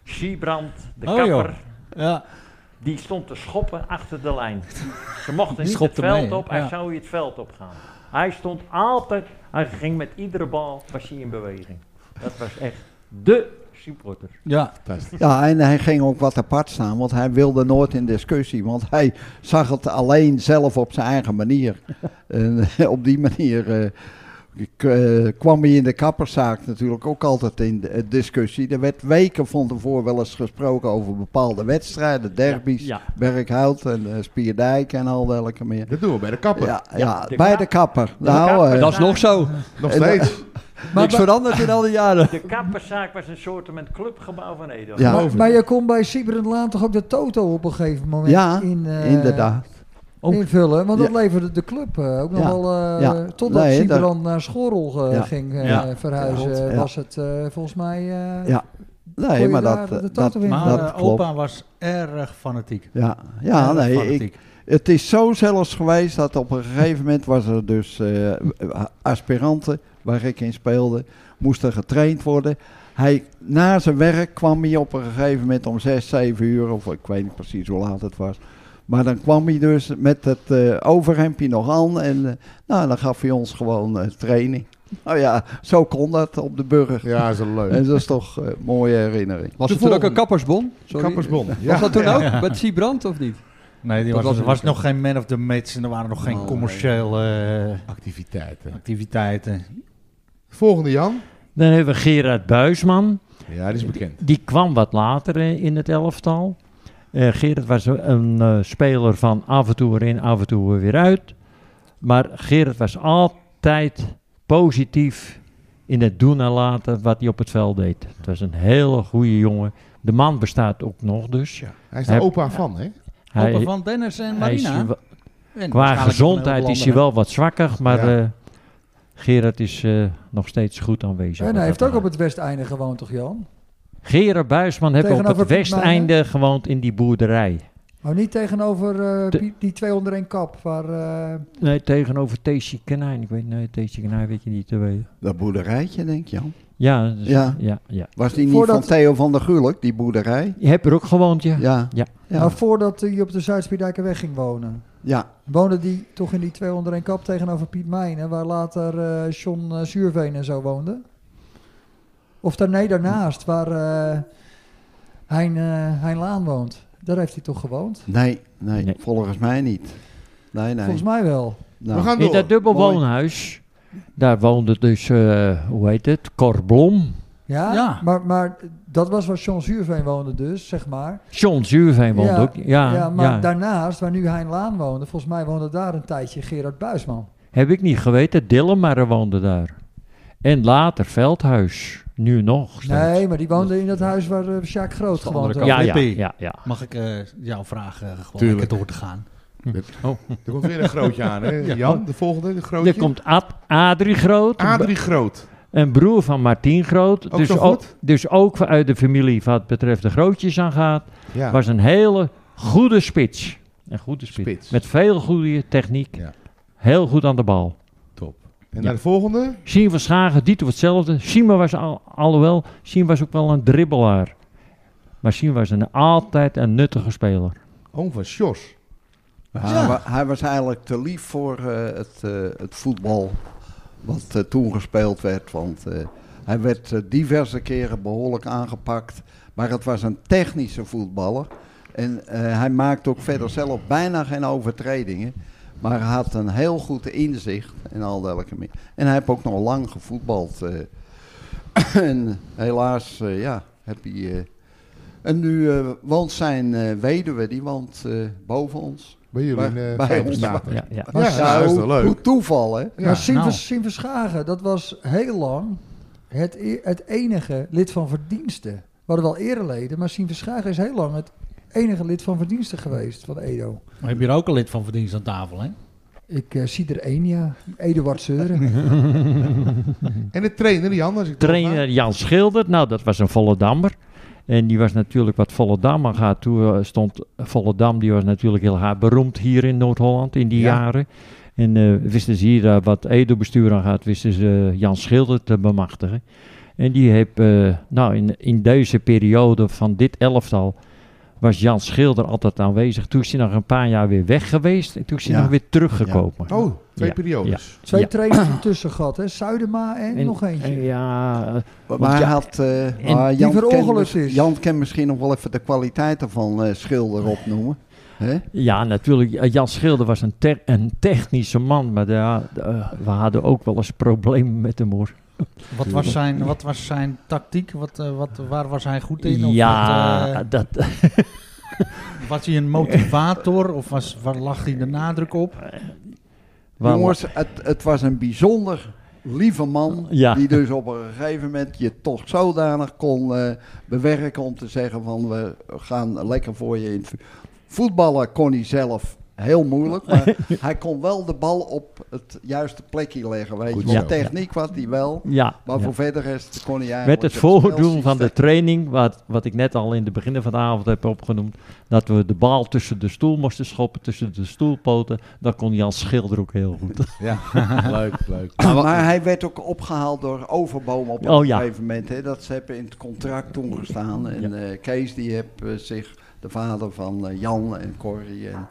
Siebrand, de Oh, kapper. joh. Ja. Die stond te schoppen achter de lijn. Ze mochten Die niet het schopte veld mee, op. hè? Hij Ja. zou hier het veld op gaan. Hij stond altijd... Hij ging met iedere bal, was hij in beweging. Dat was echt de supporter. Ja. Ja, en hij ging ook wat apart staan, want hij wilde nooit in discussie. Want hij zag het alleen zelf op zijn eigen manier. en op die manier eh, k- eh, kwam hij in de kapperszaak natuurlijk ook altijd in de- eh, discussie. Er werd weken van tevoren wel eens gesproken over bepaalde wedstrijden, derbies, ja. Berkhout en eh, Spierdijk en al welke meer. Dat doen we bij de kapper. Ja, ja, Ja, de bij kap- de kapper. de nou, kapper, eh, Dat is nog zo. Nog steeds. Niks veranderd in al die jaren. De kapperszaak was een soort met clubgebouw van Edo. Ja. Geloof ik. Maar je kon bij Sieberend Laan toch ook de toto op een gegeven moment Ja, in, eh, inderdaad. Ook. invullen. Want dat Ja. leverde de club eh, ook nog Ja, wel... eh, ja. Totdat Nee, daar- Sieberend naar Schorrel eh, Ja. ging eh, Ja. verhuizen, Klopt, ja. was het eh, volgens mij... eh, Ja. kon Nee, je maar daar dat, de eh, toto dat, in Maar dat eh, klopt. opa was erg fanatiek. Ja, ja Erg nee, ik, fanatiek. Het is zo zelfs geweest dat op een gegeven moment was er dus eh, aspiranten waar ik in speelde, moesten getraind worden. Hij, na zijn werk kwam hij op een gegeven moment om 6, 7 uur, of ik weet niet precies hoe laat het was. Maar dan kwam hij dus met het eh, overhemdje nog aan en eh, nou, dan gaf hij ons gewoon eh, training. Nou ja, zo kon dat op de burger. Ja, is wel leuk. En dat is toch eh, een mooie herinnering. Was De het toen ook volgende. een kappersbon? Sorry. Kappersbon. Ja. Was dat toen Ja. ook? Met Siebrand of niet? Nee, die Dat was, was was, het niet. nog geen man of the match en er waren nog geen Oh, commerciële eh, Activiteiten. activiteiten. Volgende Jan. Dan hebben we Gerard Buisman. Ja, die is bekend. Die kwam wat later eh, in het elftal. Eh Gerard was een eh, speler van af en toe erin, af en toe weer uit. Maar Gerard was altijd positief in het doen en laten wat hij op het veld deed. Het was een hele goede jongen. De man bestaat ook nog dus. Ja. Hij is de Heb- opa van, hè? Opa van Dennis en hij is Marina. wa- En qua waarschijnlijk nog een gezondheid heleboel is hij anderen. wel wat zwakker, maar Ja. eh, Gerard is eh, nog steeds goed aanwezig. en wat hij dat heeft ook op betreft. het Westeinde gewoond, toch Jan? Gerard Buisman heeft op Tegenover het Piet westeinde gewoond in die boerderij. Maar niet tegenover eh, Te- Piet- die 201 kap, waar... eh, Nee, tegenover Teesje Kanijn. Ik weet nee, Teesje Kanijn weet je niet te weten. Dat boerderijtje, denk je Jan. Ja, dus- Ja. ja. ja, Was die niet Voordat- van Theo van der Gulik, die boerderij? Je hebt er ook gewoond, ja. Ja. Ja. Maar nou, voordat hij op de Zuidspierdijkerweg ging wonen, Ja, woonde die toch in die 201 kap tegenover Piet Mijnen, waar later eh, John eh, Zuurveen en zo woonde? Of daar, nee, daarnaast, waar eh Hein, eh, Hein Laan woont. Daar heeft hij toch gewoond? nee, nee, Nee. volgens mij niet. Nee, nee. Volgens mij wel. Nou, We gaan In door. dat dubbel Mooi. woonhuis, daar woonde dus, eh, hoe heet het, Cor Blom. Ja, Ja. Maar, maar dat was waar John Zuurveen woonde dus, zeg maar. John Zuurveen woonde Ja, ook. Ja, ja, maar daarnaast, waar nu Hein Laan woonde, volgens mij woonde daar een tijdje Gerard Buisman. Heb ik niet geweten, Dillemarre woonde daar. En later Veldhuis, nu nog. steeds. Nee, maar die woonde in dat huis waar eh, Sjaak Groot is de andere gewoond kant. had. ja, ja, Flippy. ja, ja. Mag ik eh, jou vragen eh, gewoon Tuurlijk. lekker door te gaan? Er komt weer een grootje aan, hè? Jan, de volgende, de grootje. Er komt Ad, Adrie Groot. Adrie Groot. Een broer van Martien Groot. Ook dus, zo ook, goed? dus ook uit de familie wat betreft de grootjes aangaat. Ja. Was een hele goede spits. Een goede spits. Spits. Met veel goede techniek. Ja. Heel goed aan de bal. En naar de volgende? Sien van Schagen, die doet hetzelfde. Sien was al, alhoewel, Sien was ook wel een dribbelaar. Maar Sien was een, altijd een nuttige speler. Oom van Sjors. Hij, wa- hij was eigenlijk te lief voor eh, het, eh, het voetbal wat eh, toen gespeeld werd. Want eh, hij werd eh, diverse keren behoorlijk aangepakt. Maar het was een technische voetballer. En eh, hij maakte ook verder zelf bijna geen overtredingen. Maar hij had een heel goed inzicht en al dergelijke meer. En hij heeft ook nog lang gevoetbald. eh. en helaas, eh, ja, heb hij... eh, en nu eh, woont zijn eh, weduwe, die woont eh, boven ons. Bij jullie in Bij- eh, bij Vijfenstaten. Ja, ja. Ja, Ja, dat is hoe, wel leuk. hoe toeval, hè? Ja, maar Sien nou. Vers- Sien Verschagen, dat was heel lang het, e- het enige lid van verdiensten. We hadden wel ereleden, maar Sien Verschagen is heel lang het enige lid van verdiensten geweest van Edo. Maar heb je er ook een lid van verdienst aan tafel, hè? Ik eh, zie er één, ja. Eduard Seuren. En de trainer, Jan, als ik Trainer Jan Schilder, nou dat was een Volendammer. En die was natuurlijk wat Volendam aan gaat. Toen eh, stond Volendam, die was natuurlijk heel hard beroemd hier in Noord-Holland in die Ja. jaren. En eh, wisten ze hier eh, wat Edo-bestuur aan gaat, wisten ze eh, Jan Schilder te bemachtigen. En die heeft, eh, nou in, in deze periode van dit elftal, was Jan Schilder altijd aanwezig. Toen is hij nog een paar jaar weer weg geweest. En toen is hij Ja. nog weer teruggekomen. Ja. Oh, twee Ja, periodes. ja, Twee ja. trainers ertussen gehad, hè? Zuidema en, En- nog eentje. en ja, eh, Maar Want hij ja, had, eh, en maar die Jan, kent verongelukt mis- is. Jan kan misschien nog wel even de kwaliteiten van eh, Schilder opnoemen. Hè? ja, natuurlijk. eh, Jan Schilder was een, te- een technische man. Maar daar, eh, we hadden ook wel eens problemen met hem hoor. Wat was zijn, wat was zijn tactiek? Wat, eh, wat, waar was hij goed in? Of ja, wat, eh, dat, was hij een motivator? Of was, waar lag hij de nadruk op? waar- Jongens, het, het was een bijzonder lieve man. Eh, Ja. Die dus op een gegeven moment je toch zodanig kon eh, bewerken om te zeggen van we gaan lekker voor je in. het vu- Voetballen kon hij zelf heel moeilijk, maar hij kon wel de bal op het juiste plekje leggen. Weet je. Goed Want zo. techniek was hij wel, ja, maar ja. voor verder rest kon hij eigenlijk... Met het spelsysteem- voordoen van de training, wat, wat ik net al in het begin van de avond heb opgenoemd, dat we de bal tussen de stoel moesten schoppen, tussen de stoelpoten, dat kon Jan Schilder ook heel goed. Ja, leuk, leuk. Maar hij werd ook opgehaald door Overboom op Oh, een ja. gegeven moment. Hè. Dat ze hebben in het contract toen gestaan. En eh, Kees die heeft eh, zich, de vader van eh, Jan en Corrie, en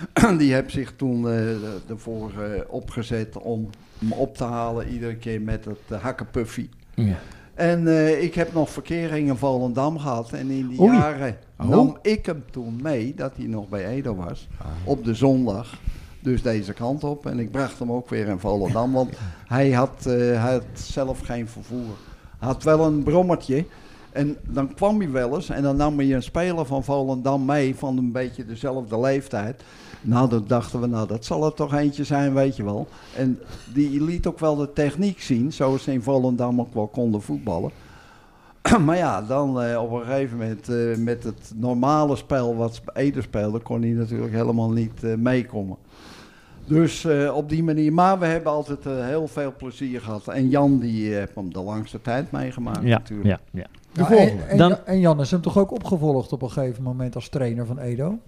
die heeft zich toen eh, ervoor eh, opgezet om hem op te halen. Iedere keer met het eh, hakkenpuffy. Ja. En eh, ik heb nog verkering in Volendam gehad. En in die Oei. jaren Oh. nam ik hem toen mee, dat hij nog bij Edo was, Ah. op de zondag. Dus deze kant op. En ik bracht hem ook weer in Volendam, want hij had, eh, hij had zelf geen vervoer. Hij had wel een brommertje. En dan kwam hij wel eens en dan nam hij een speler van Volendam mee van een beetje dezelfde leeftijd. Nou, dan dachten we, nou, dat zal er toch eentje zijn, weet je wel. En die liet ook wel de techniek zien, zoals ze in Volendam ook wel konden voetballen. maar ja, dan eh, op een gegeven moment eh, met het normale spel wat Ede speelde, kon hij natuurlijk helemaal niet eh, meekomen. Dus eh, op die manier. Maar we hebben altijd eh, heel veel plezier gehad. En Jan die eh, heeft hem de langste tijd meegemaakt Ja, natuurlijk. ja, ja. De Ja, volgende. En, en, Dan- Ja- en Jan is hem toch ook opgevolgd op een gegeven moment als trainer van Edo?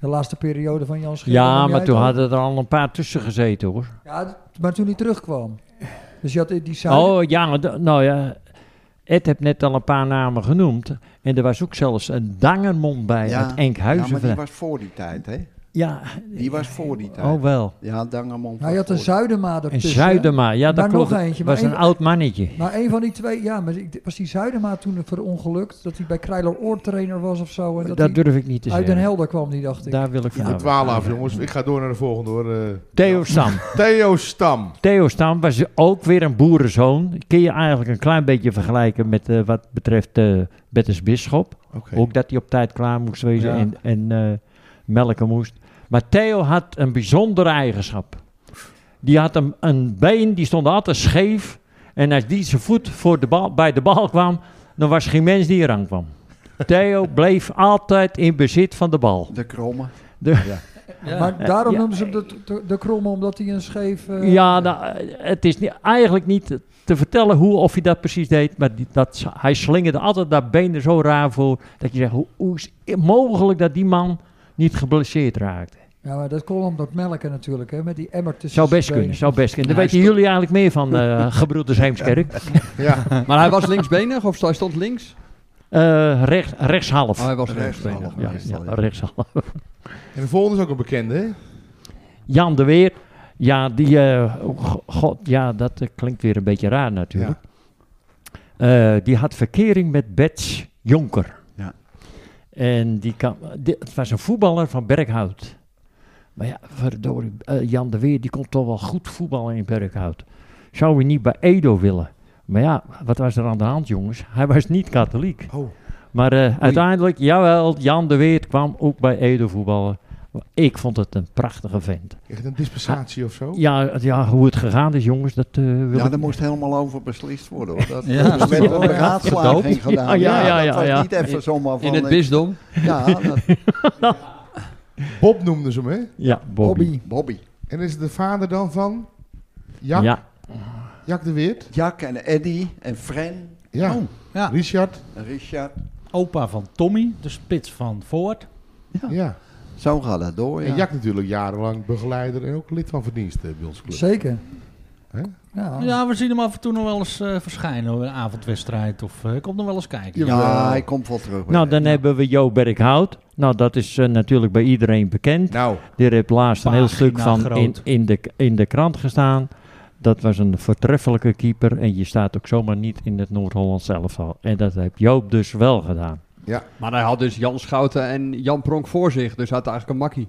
De laatste periode van Jan Schilder. ja nam jij maar het toen over? hadden er al een paar tussen gezeten hoor. Ja, d- maar toen hij terugkwam. Dus je had die Zuid... Oh ja, maar d- nou ja, Ed heeft net al een paar namen genoemd. En er was ook zelfs een Dangermond bij Ja, uit Ja, Enkhuizen. maar die Ja, was voor die tijd, hè? ja, Die was voor die tijd. oh wel. Ja, Dangermond. Hij Nou, had een Zuidema En ertussen. Zuidema, ja dat Maar nog klopt. eentje, maar was een één- oud mannetje. Maar een van die twee... Ja, maar ik- was die Zuidema toen verongelukt? Dat hij bij Kreiler Oort trainer was of zo? En dat, Dat, hij durf ik niet te uit Den zeggen. Helder kwam, die dacht ik. Daar wil ik van We af. dwalen af, jongens. Ik ga door naar de volgende, hoor. Eh, Theo Sam. Theo Stam. Theo Stam was ook weer een boerenzoon. Kun je eigenlijk een klein beetje vergelijken met eh, wat betreft eh Bertus Bisschop. Oké. Ook dat hij op tijd klaar moest wezen Ja. en, en eh, melken moest. Maar Theo had een bijzondere eigenschap. Die had een, een been, die stond altijd scheef. En als die zijn voet voor de bal, bij de bal kwam, dan was geen mens die eraan kwam. Theo bleef altijd in bezit van de bal. De kromme. Maar daarom Ja. noemden ze hem de, de, de kromme, omdat hij een scheef... eh, Ja, nou, eh, het is niet, eigenlijk niet te vertellen hoe of hij dat precies deed. Maar die, dat, s- hij slingerde altijd dat been er zo raar voor. Dat je zegt, hoe, hoe is het mogelijk dat die man niet geblesseerd raakte? ja, maar dat kon hem dat melken natuurlijk, hè? Met die emmer tussen Zou best zijn benen. kunnen, zou best kunnen. Daar weten jullie eigenlijk meer van, eh gebroeders Heemskerk. Ja, Maar hij was linksbenig of hij stond links? Eh, rechts, rechtshalf. Oh, hij was Rechtshalf. rechtsbenig. ja, meestal, ja, ja. rechtshalf. en de volgende is ook een bekende, hè? Jan de Weer. Ja, die... eh, oh, go- God, ja, dat eh, klinkt weer een beetje raar natuurlijk. Ja. Eh, die had verkering met Bets Jonker. Ja. En die kan, di- het was een voetballer van Berkhout. Maar ja, verdorie, eh, Jan de Weer, die komt toch wel goed voetballen in Berkhout. Zou we niet bij Edo willen? Maar ja, wat was er aan de hand, jongens? Hij was niet katholiek. Oh. Maar eh, uiteindelijk, jawel, Jan de Weer kwam ook bij Edo voetballen. Ik vond het een prachtige vent. Echt een dispensatie of zo? Ja, het- ja hoe het gegaan is, jongens, dat eh wil Ja, ik daar moest helemaal over beslist worden. Hoor. Dat, Ja, dat werd een gedoopt. beraadslaging gedaan. Ja, ja, ja, dat ja, was ja. niet even zomaar van... In het eh, bisdom. Ja, dat- Bob noemde ze hem, hè? Ja, Bobby. Bobby. Bobby. En is het de vader dan van Jack, Ja, Jack de Weert? Jack en Eddie en Fran Ja. Oh, ja. Richard? en Richard. Opa van Tommy, de spits van Voort. Ja. Ja. Zo gaat dat door, ja. En Jack natuurlijk jarenlang begeleider en ook lid van verdiensten bij ons eh, club. Zeker. Hè? Oh. Ja. Ja, we zien hem af en toe nog wel eens eh, verschijnen. hoor, Een avondwedstrijd of eh komt nog wel eens kijken. Ja, hij komt wel terug. Nou, dan hebben we Jo Berghout. Nou, dat is eh, natuurlijk bij iedereen bekend. Nou. Die heeft laatst een heel Pagina stuk van in, groot. in, de, in de krant gestaan. Dat was een voortreffelijke keeper. En je staat ook zomaar niet in het Noord-Holland zelf al. En dat heeft Joop dus wel gedaan. Ja. Maar hij had dus Jan Schouten en Jan Pronk voor zich. Dus hij had eigenlijk een makkie.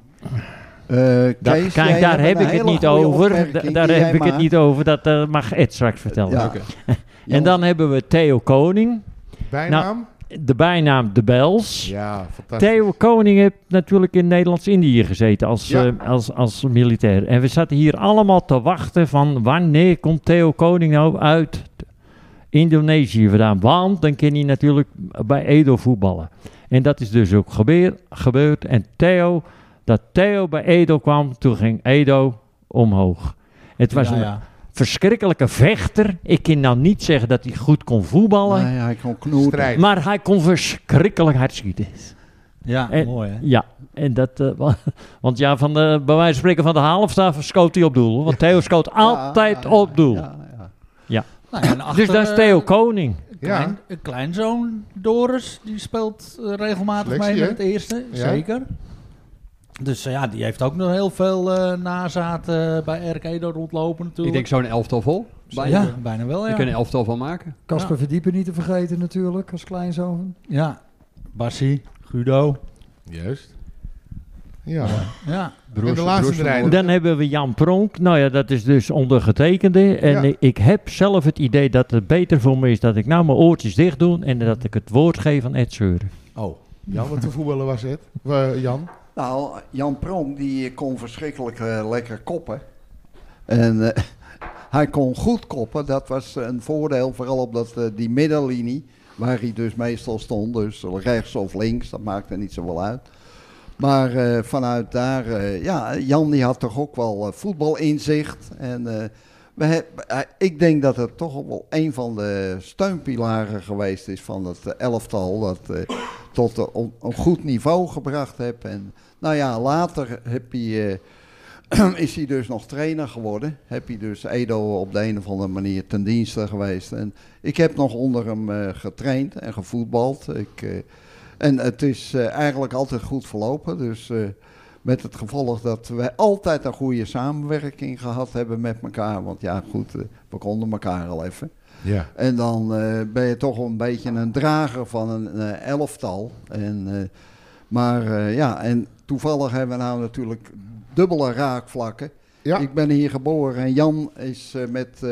Eh, Dat- kijk, daar heb ik het niet over. Da- Daar heb ik het niet over. Dat eh, mag Ed straks vertellen. Ja. Oké. en dan hebben we Theo Koning. Bijnaam? Nou, de bijnaam De Bels. Ja, fantastisch. Theo Koning heeft natuurlijk in Nederlands-Indië gezeten als, Ja. eh, als, als militair. En we zaten hier allemaal te wachten van wanneer komt Theo Koning nou uit Indonesië vandaan. Want dan kan hij natuurlijk bij Edo voetballen. En dat is dus ook gebeer, gebeurd. En Theo, dat Theo bij Edo kwam, toen ging Edo omhoog. Het was Ja, een ja. verschrikkelijke vechter. Ik kan nou niet zeggen dat hij goed kon voetballen. Nee, hij kon knoeten. Strijd. Maar hij kon verschrikkelijk hard schieten. Ja, En- mooi hè. Eh, Ja, en dat, eh, wa- want ja, van de, bij wijze van spreken van de halfstaf schoot hij op doel. hoor. Want Theo schoot Ah, altijd op doel. Ja, Nou ja, en dus achter, dat is eh, Theo Koning. Klein, Een kleinzoon, Doris, die speelt eh, regelmatig Selectie, mee hè? met het eerste. Ja. Zeker. Dus eh, ja, die heeft ook nog heel veel eh nazaten bij RK Edo rondlopen Ik natuurlijk. denk zo'n elftal vol. Bijna. Ja, bijna wel Je ja. kunt een elftal van maken. Casper Verdiepen niet te vergeten natuurlijk, als kleinzoon. Ja, Bassie, Guido. Juist. Ja. Ja. en de laatste draaier. Dan hebben we Jan Pronk. Nou ja, dat is dus ondergetekende. En Ja. ik- ik heb zelf het idee dat het beter voor me is dat ik nou mijn oortjes dicht doe en dat ik het woord geef aan Ed Zeuren. Oh, Jan, wat een voetballer was het? Eh, Jan? Nou, Jan Pronk die kon verschrikkelijk eh, lekker koppen. En eh, hij kon goed koppen. Dat was een voordeel, vooral op dat, eh, die middenlinie, waar hij dus meestal stond. Dus rechts of links, dat maakte niet zoveel uit. Maar eh, vanuit daar, eh, ja, Jan die had toch ook wel eh, voetbalinzicht. En eh, we heb- eh, ik denk dat het toch wel een van de steunpilaren geweest is van het eh, elftal. Dat eh, tot een- on- een goed niveau gebracht heb. En nou ja, later heb hij, eh, is hij dus nog trainer geworden. Heb hij dus Edo op de een of andere manier ten dienste geweest. En ik heb nog onder hem eh, getraind en gevoetbald. Ik, eh, en het is eh, eigenlijk altijd goed verlopen. Dus eh, met het gevolg dat wij altijd een goede samenwerking gehad hebben met elkaar. Want ja, goed, eh, we konden elkaar al even. Ja. En dan eh, ben je toch een beetje een drager van een eh, elftal. En, eh, maar eh, ja, en toevallig hebben we nou natuurlijk dubbele raakvlakken. Ja. Ik ben hier geboren en Jan is eh, met eh,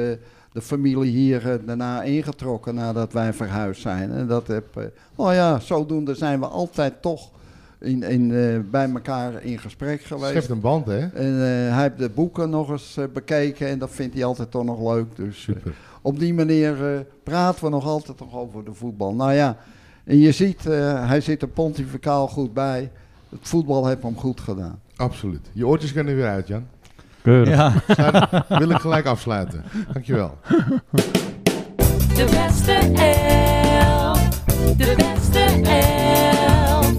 de familie hier eh, daarna ingetrokken nadat wij verhuisd zijn. En dat heb, eh, nou ja, zodoende zijn we altijd toch in, in, eh, bij elkaar in gesprek geweest. Schept een band, hè? En eh, hij heeft de boeken nog eens eh, bekeken en dat vindt hij altijd toch nog leuk. Dus eh, Super. op die manier eh, praten we nog altijd nog over de voetbal. Nou ja, en je ziet, eh, hij zit er pontificaal goed bij. Het voetbal heeft hem goed gedaan. Absoluut. Je oortjes kunnen er weer uit, Jan. Keurig. Ja. Daar wil ik gelijk afsluiten. Dankjewel. De beste elf. De beste elf.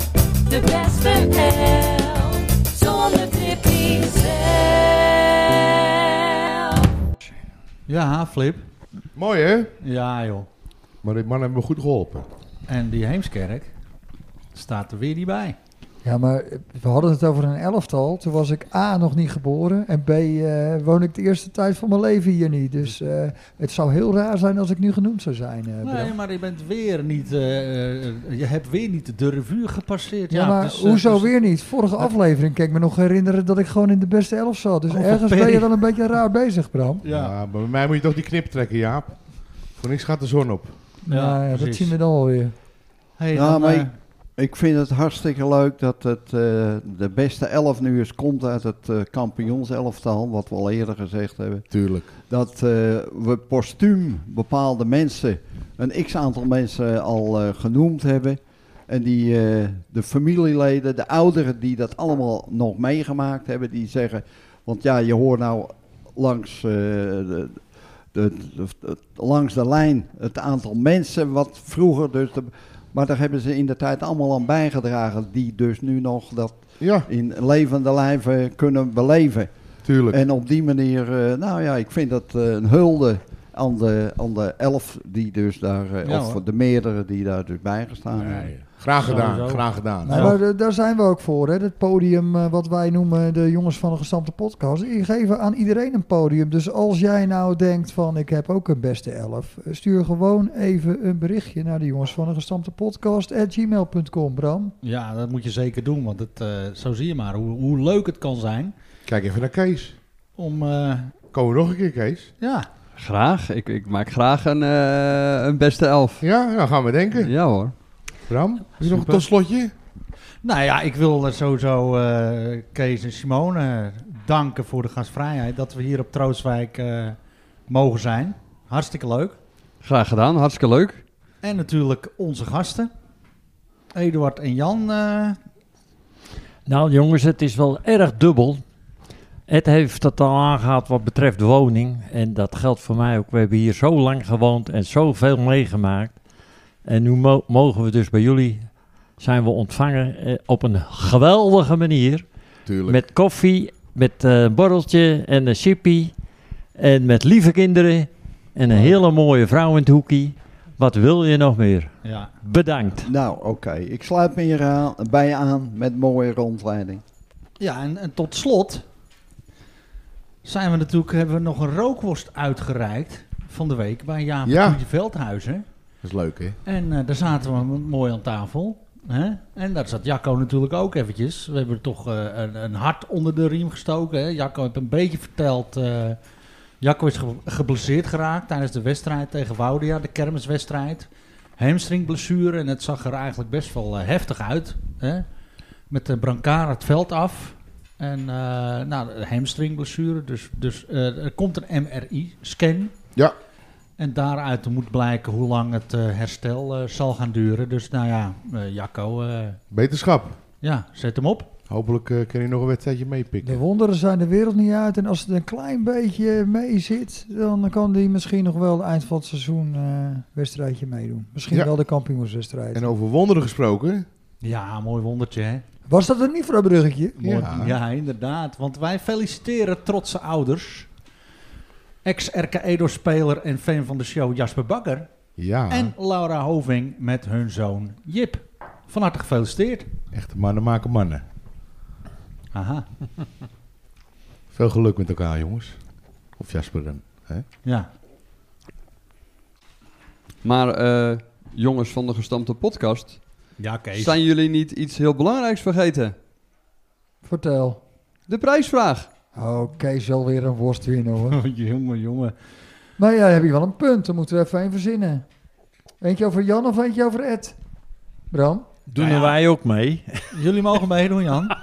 De beste elf. Zonder trippie zelf. Ja, Flip. Mooi, hè? Ja joh. Maar die man hebben me goed geholpen. En die Heemskerk staat er weer niet bij. Ja, maar eh, we hadden het over een elftal. Toen was ik A, nog niet geboren. En B, eh, woon ik de eerste tijd van mijn leven hier niet. Dus eh, het zou heel raar zijn als ik nu genoemd zou zijn. eh, Bram. Nee, maar je bent weer niet... eh, eh, je hebt weer niet de revue gepasseerd. Ja, maar dus, eh, hoezo dus- weer niet? Vorige aflevering kan ik me nog herinneren dat ik gewoon in de beste elf zat. Dus Over ergens ben Perry. je wel een beetje raar bezig, Bram. Ja, Ja, maar bij mij moet je toch die knip trekken, Jaap. Voor niks gaat de zon op. Ja, Nou ja, dat precies. zien we dan wel weer. Hey, Ja, dan, maar eh, ik- Ik vind het hartstikke leuk dat het, eh, de beste elf nu eens komt uit het eh, kampioenselftal, wat we al eerder gezegd hebben. Tuurlijk. dat eh, we postuum bepaalde mensen, een x-aantal mensen al eh, genoemd hebben. En die, eh, de familieleden, de ouderen die dat allemaal nog meegemaakt hebben, die zeggen... Want ja, je hoort nou langs, eh, de, de, de- de- langs de lijn het aantal mensen wat vroeger... Dus de, maar daar hebben ze in de tijd allemaal aan bijgedragen, die dus nu nog dat Ja, in levende lijven kunnen beleven. Tuurlijk. En op die manier, eh, nou ja, ik vind dat eh, een hulde aan de, aan de elf die dus daar, eh, Ja, of hoor. de meerdere die daar dus bij Eh, gestaan hebben. Graag gedaan, graag gedaan. Nee, maar eh, daar zijn we ook voor. Hè. Het podium eh, wat wij noemen de jongens van de gestampte podcast. Die geven aan iedereen een podium. Dus als jij nou denkt van ik heb ook een beste elf. eh, Stuur gewoon even een berichtje naar de jongens van de gestampte podcast. At gmail.com Bram. Ja, dat moet je zeker doen, want het, eh, zo zie je maar hoe, hoe leuk het kan zijn. Kijk even naar Kees. Om, eh, Komen we nog een keer, Kees? ja, Graag. Ik, ik maak graag een, eh, een beste elf. Ja, nou gaan we denken. Ja hoor. Bram, heb je nog een Super. totslotje? nou ja, ik wil eh, sowieso eh, Kees en Simone eh, danken voor de gastvrijheid. Dat we hier op Troostwijk eh, mogen zijn. Hartstikke leuk. Graag gedaan. Hartstikke leuk. En natuurlijk onze gasten. Eduard en Jan. eh, Nou jongens, het is wel erg dubbel. Ed heeft het al aangehaald wat betreft woning. En dat geldt voor mij ook. We hebben hier zo lang gewoond en zoveel meegemaakt. En nu mo- mogen we dus bij jullie zijn we ontvangen eh, op een geweldige manier. Tuurlijk. Met koffie, met eh, een borreltje en een chippy. En met lieve kinderen. En een hele mooie vrouw in het hoekie. Wat wil je nog meer? ja. Bedankt. Nou, oké. Ik sluit me hier aan, bij aan met mooie rondleiding. ja, en, en tot slot zijn we natuurlijk, hebben we nog een rookworst uitgereikt van de week bij Jaap Ja. ja. Veldhuizen. Dat is leuk, hè? En eh, daar zaten we m- mooi aan tafel. Hè? En daar zat Jacco natuurlijk ook eventjes. We hebben er toch eh, een, een hart onder de riem gestoken. Hè? Jacco heeft een beetje verteld. eh, Jacco is ge- geblesseerd geraakt tijdens de wedstrijd tegen Woudia, de kermiswedstrijd. Hamstringblessure en het zag er eigenlijk best wel eh, heftig uit. Hè? Met de brancard het veld af. En eh, nou, de hamstringblessure. Dus, dus eh, er komt een MRI-scan. Ja. En daaruit moet blijken hoe lang het eh, herstel eh, zal gaan duren. Dus nou ja, eh, Jacco, eh, Beterschap. ja, zet hem op. Hopelijk eh, kan je nog een wedstrijdje meepikken. De wonderen zijn de wereld niet uit. En als het een klein beetje mee zit, dan kan die misschien nog wel eind van het seizoen eh wedstrijdje meedoen. Misschien Ja. wel de kampioenswedstrijd. En over wonderen gesproken. Ja, mooi wondertje, hè? Was dat een Nifra-bruggetje? Mooi- Ja. Ja. inderdaad. Want wij feliciteren trotse ouders. Ex-RK Edo-speler en fan van de show Jasper Bakker. Ja, En Laura Hoving met hun zoon Jip. Van harte gefeliciteerd. echte mannen maken mannen. Aha, Veel geluk met elkaar, jongens. Of Jasper dan. Hè? ja. Maar eh, jongens van de gestampte podcast, Ja, Kees. zijn jullie niet iets heel belangrijks vergeten? Vertel. De prijsvraag. Oh, Kees zal weer een worst winnen hoor. Oh, jongen, jongen. maar Nou ja, heb je wel een punt. Dan moeten we even een verzinnen. Eentje over Jan of eentje over Ed? Bram? Doen Nou ja. wij ook mee? Jullie mogen meedoen, Jan.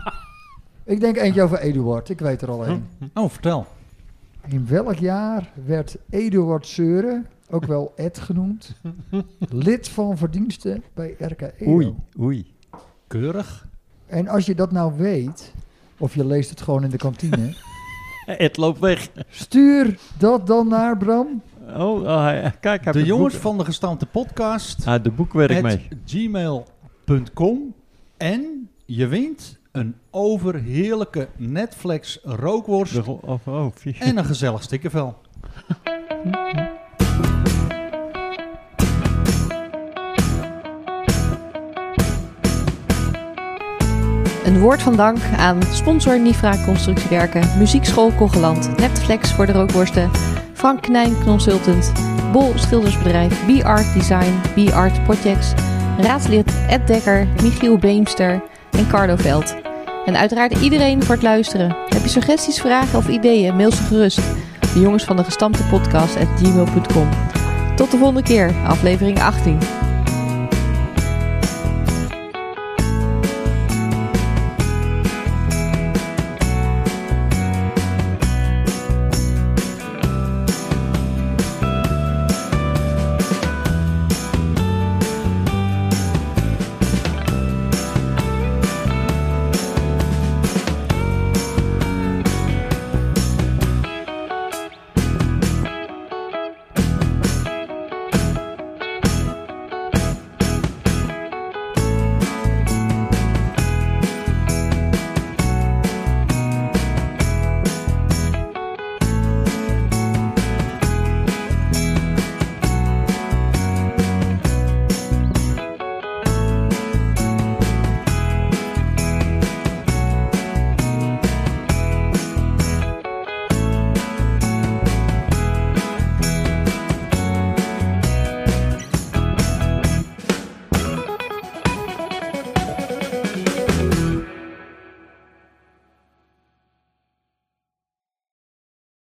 Ik denk eentje over Eduard. Ik weet er al één. Oh, vertel. In welk jaar werd Eduard Seuren, ook wel Ed genoemd, lid van verdiensten bij RK Edo? Oei, oei. Keurig. En als je dat nou weet, of je leest het gewoon in de kantine, Ed Eh, loopt weg. stuur dat dan naar Bram. Oh, oh, hij- kijk, hij heeft De het jongens boek- van de gestampte podcast. Hij heeft Ah, de boekwerk mee. gmail.com en je wint een overheerlijke Netflix rookworst De, oh, oh, vier. en een gezellig stikkervel. Een woord van dank aan sponsor Nifra Constructiewerken, Muziekschool Kogeland, Netflix voor de rookworsten, Frank Knijn Consultant, Bol Schildersbedrijf, B-Art Design, B-Art Projects, raadslid Ed Dekker, Michiel Beemster en Carlo Veld. En uiteraard iedereen voor het luisteren. Heb je suggesties, vragen of ideeën, mail ze gerust. De jongens van de gestampte podcast at gmail.com. Tot de volgende keer, aflevering 18.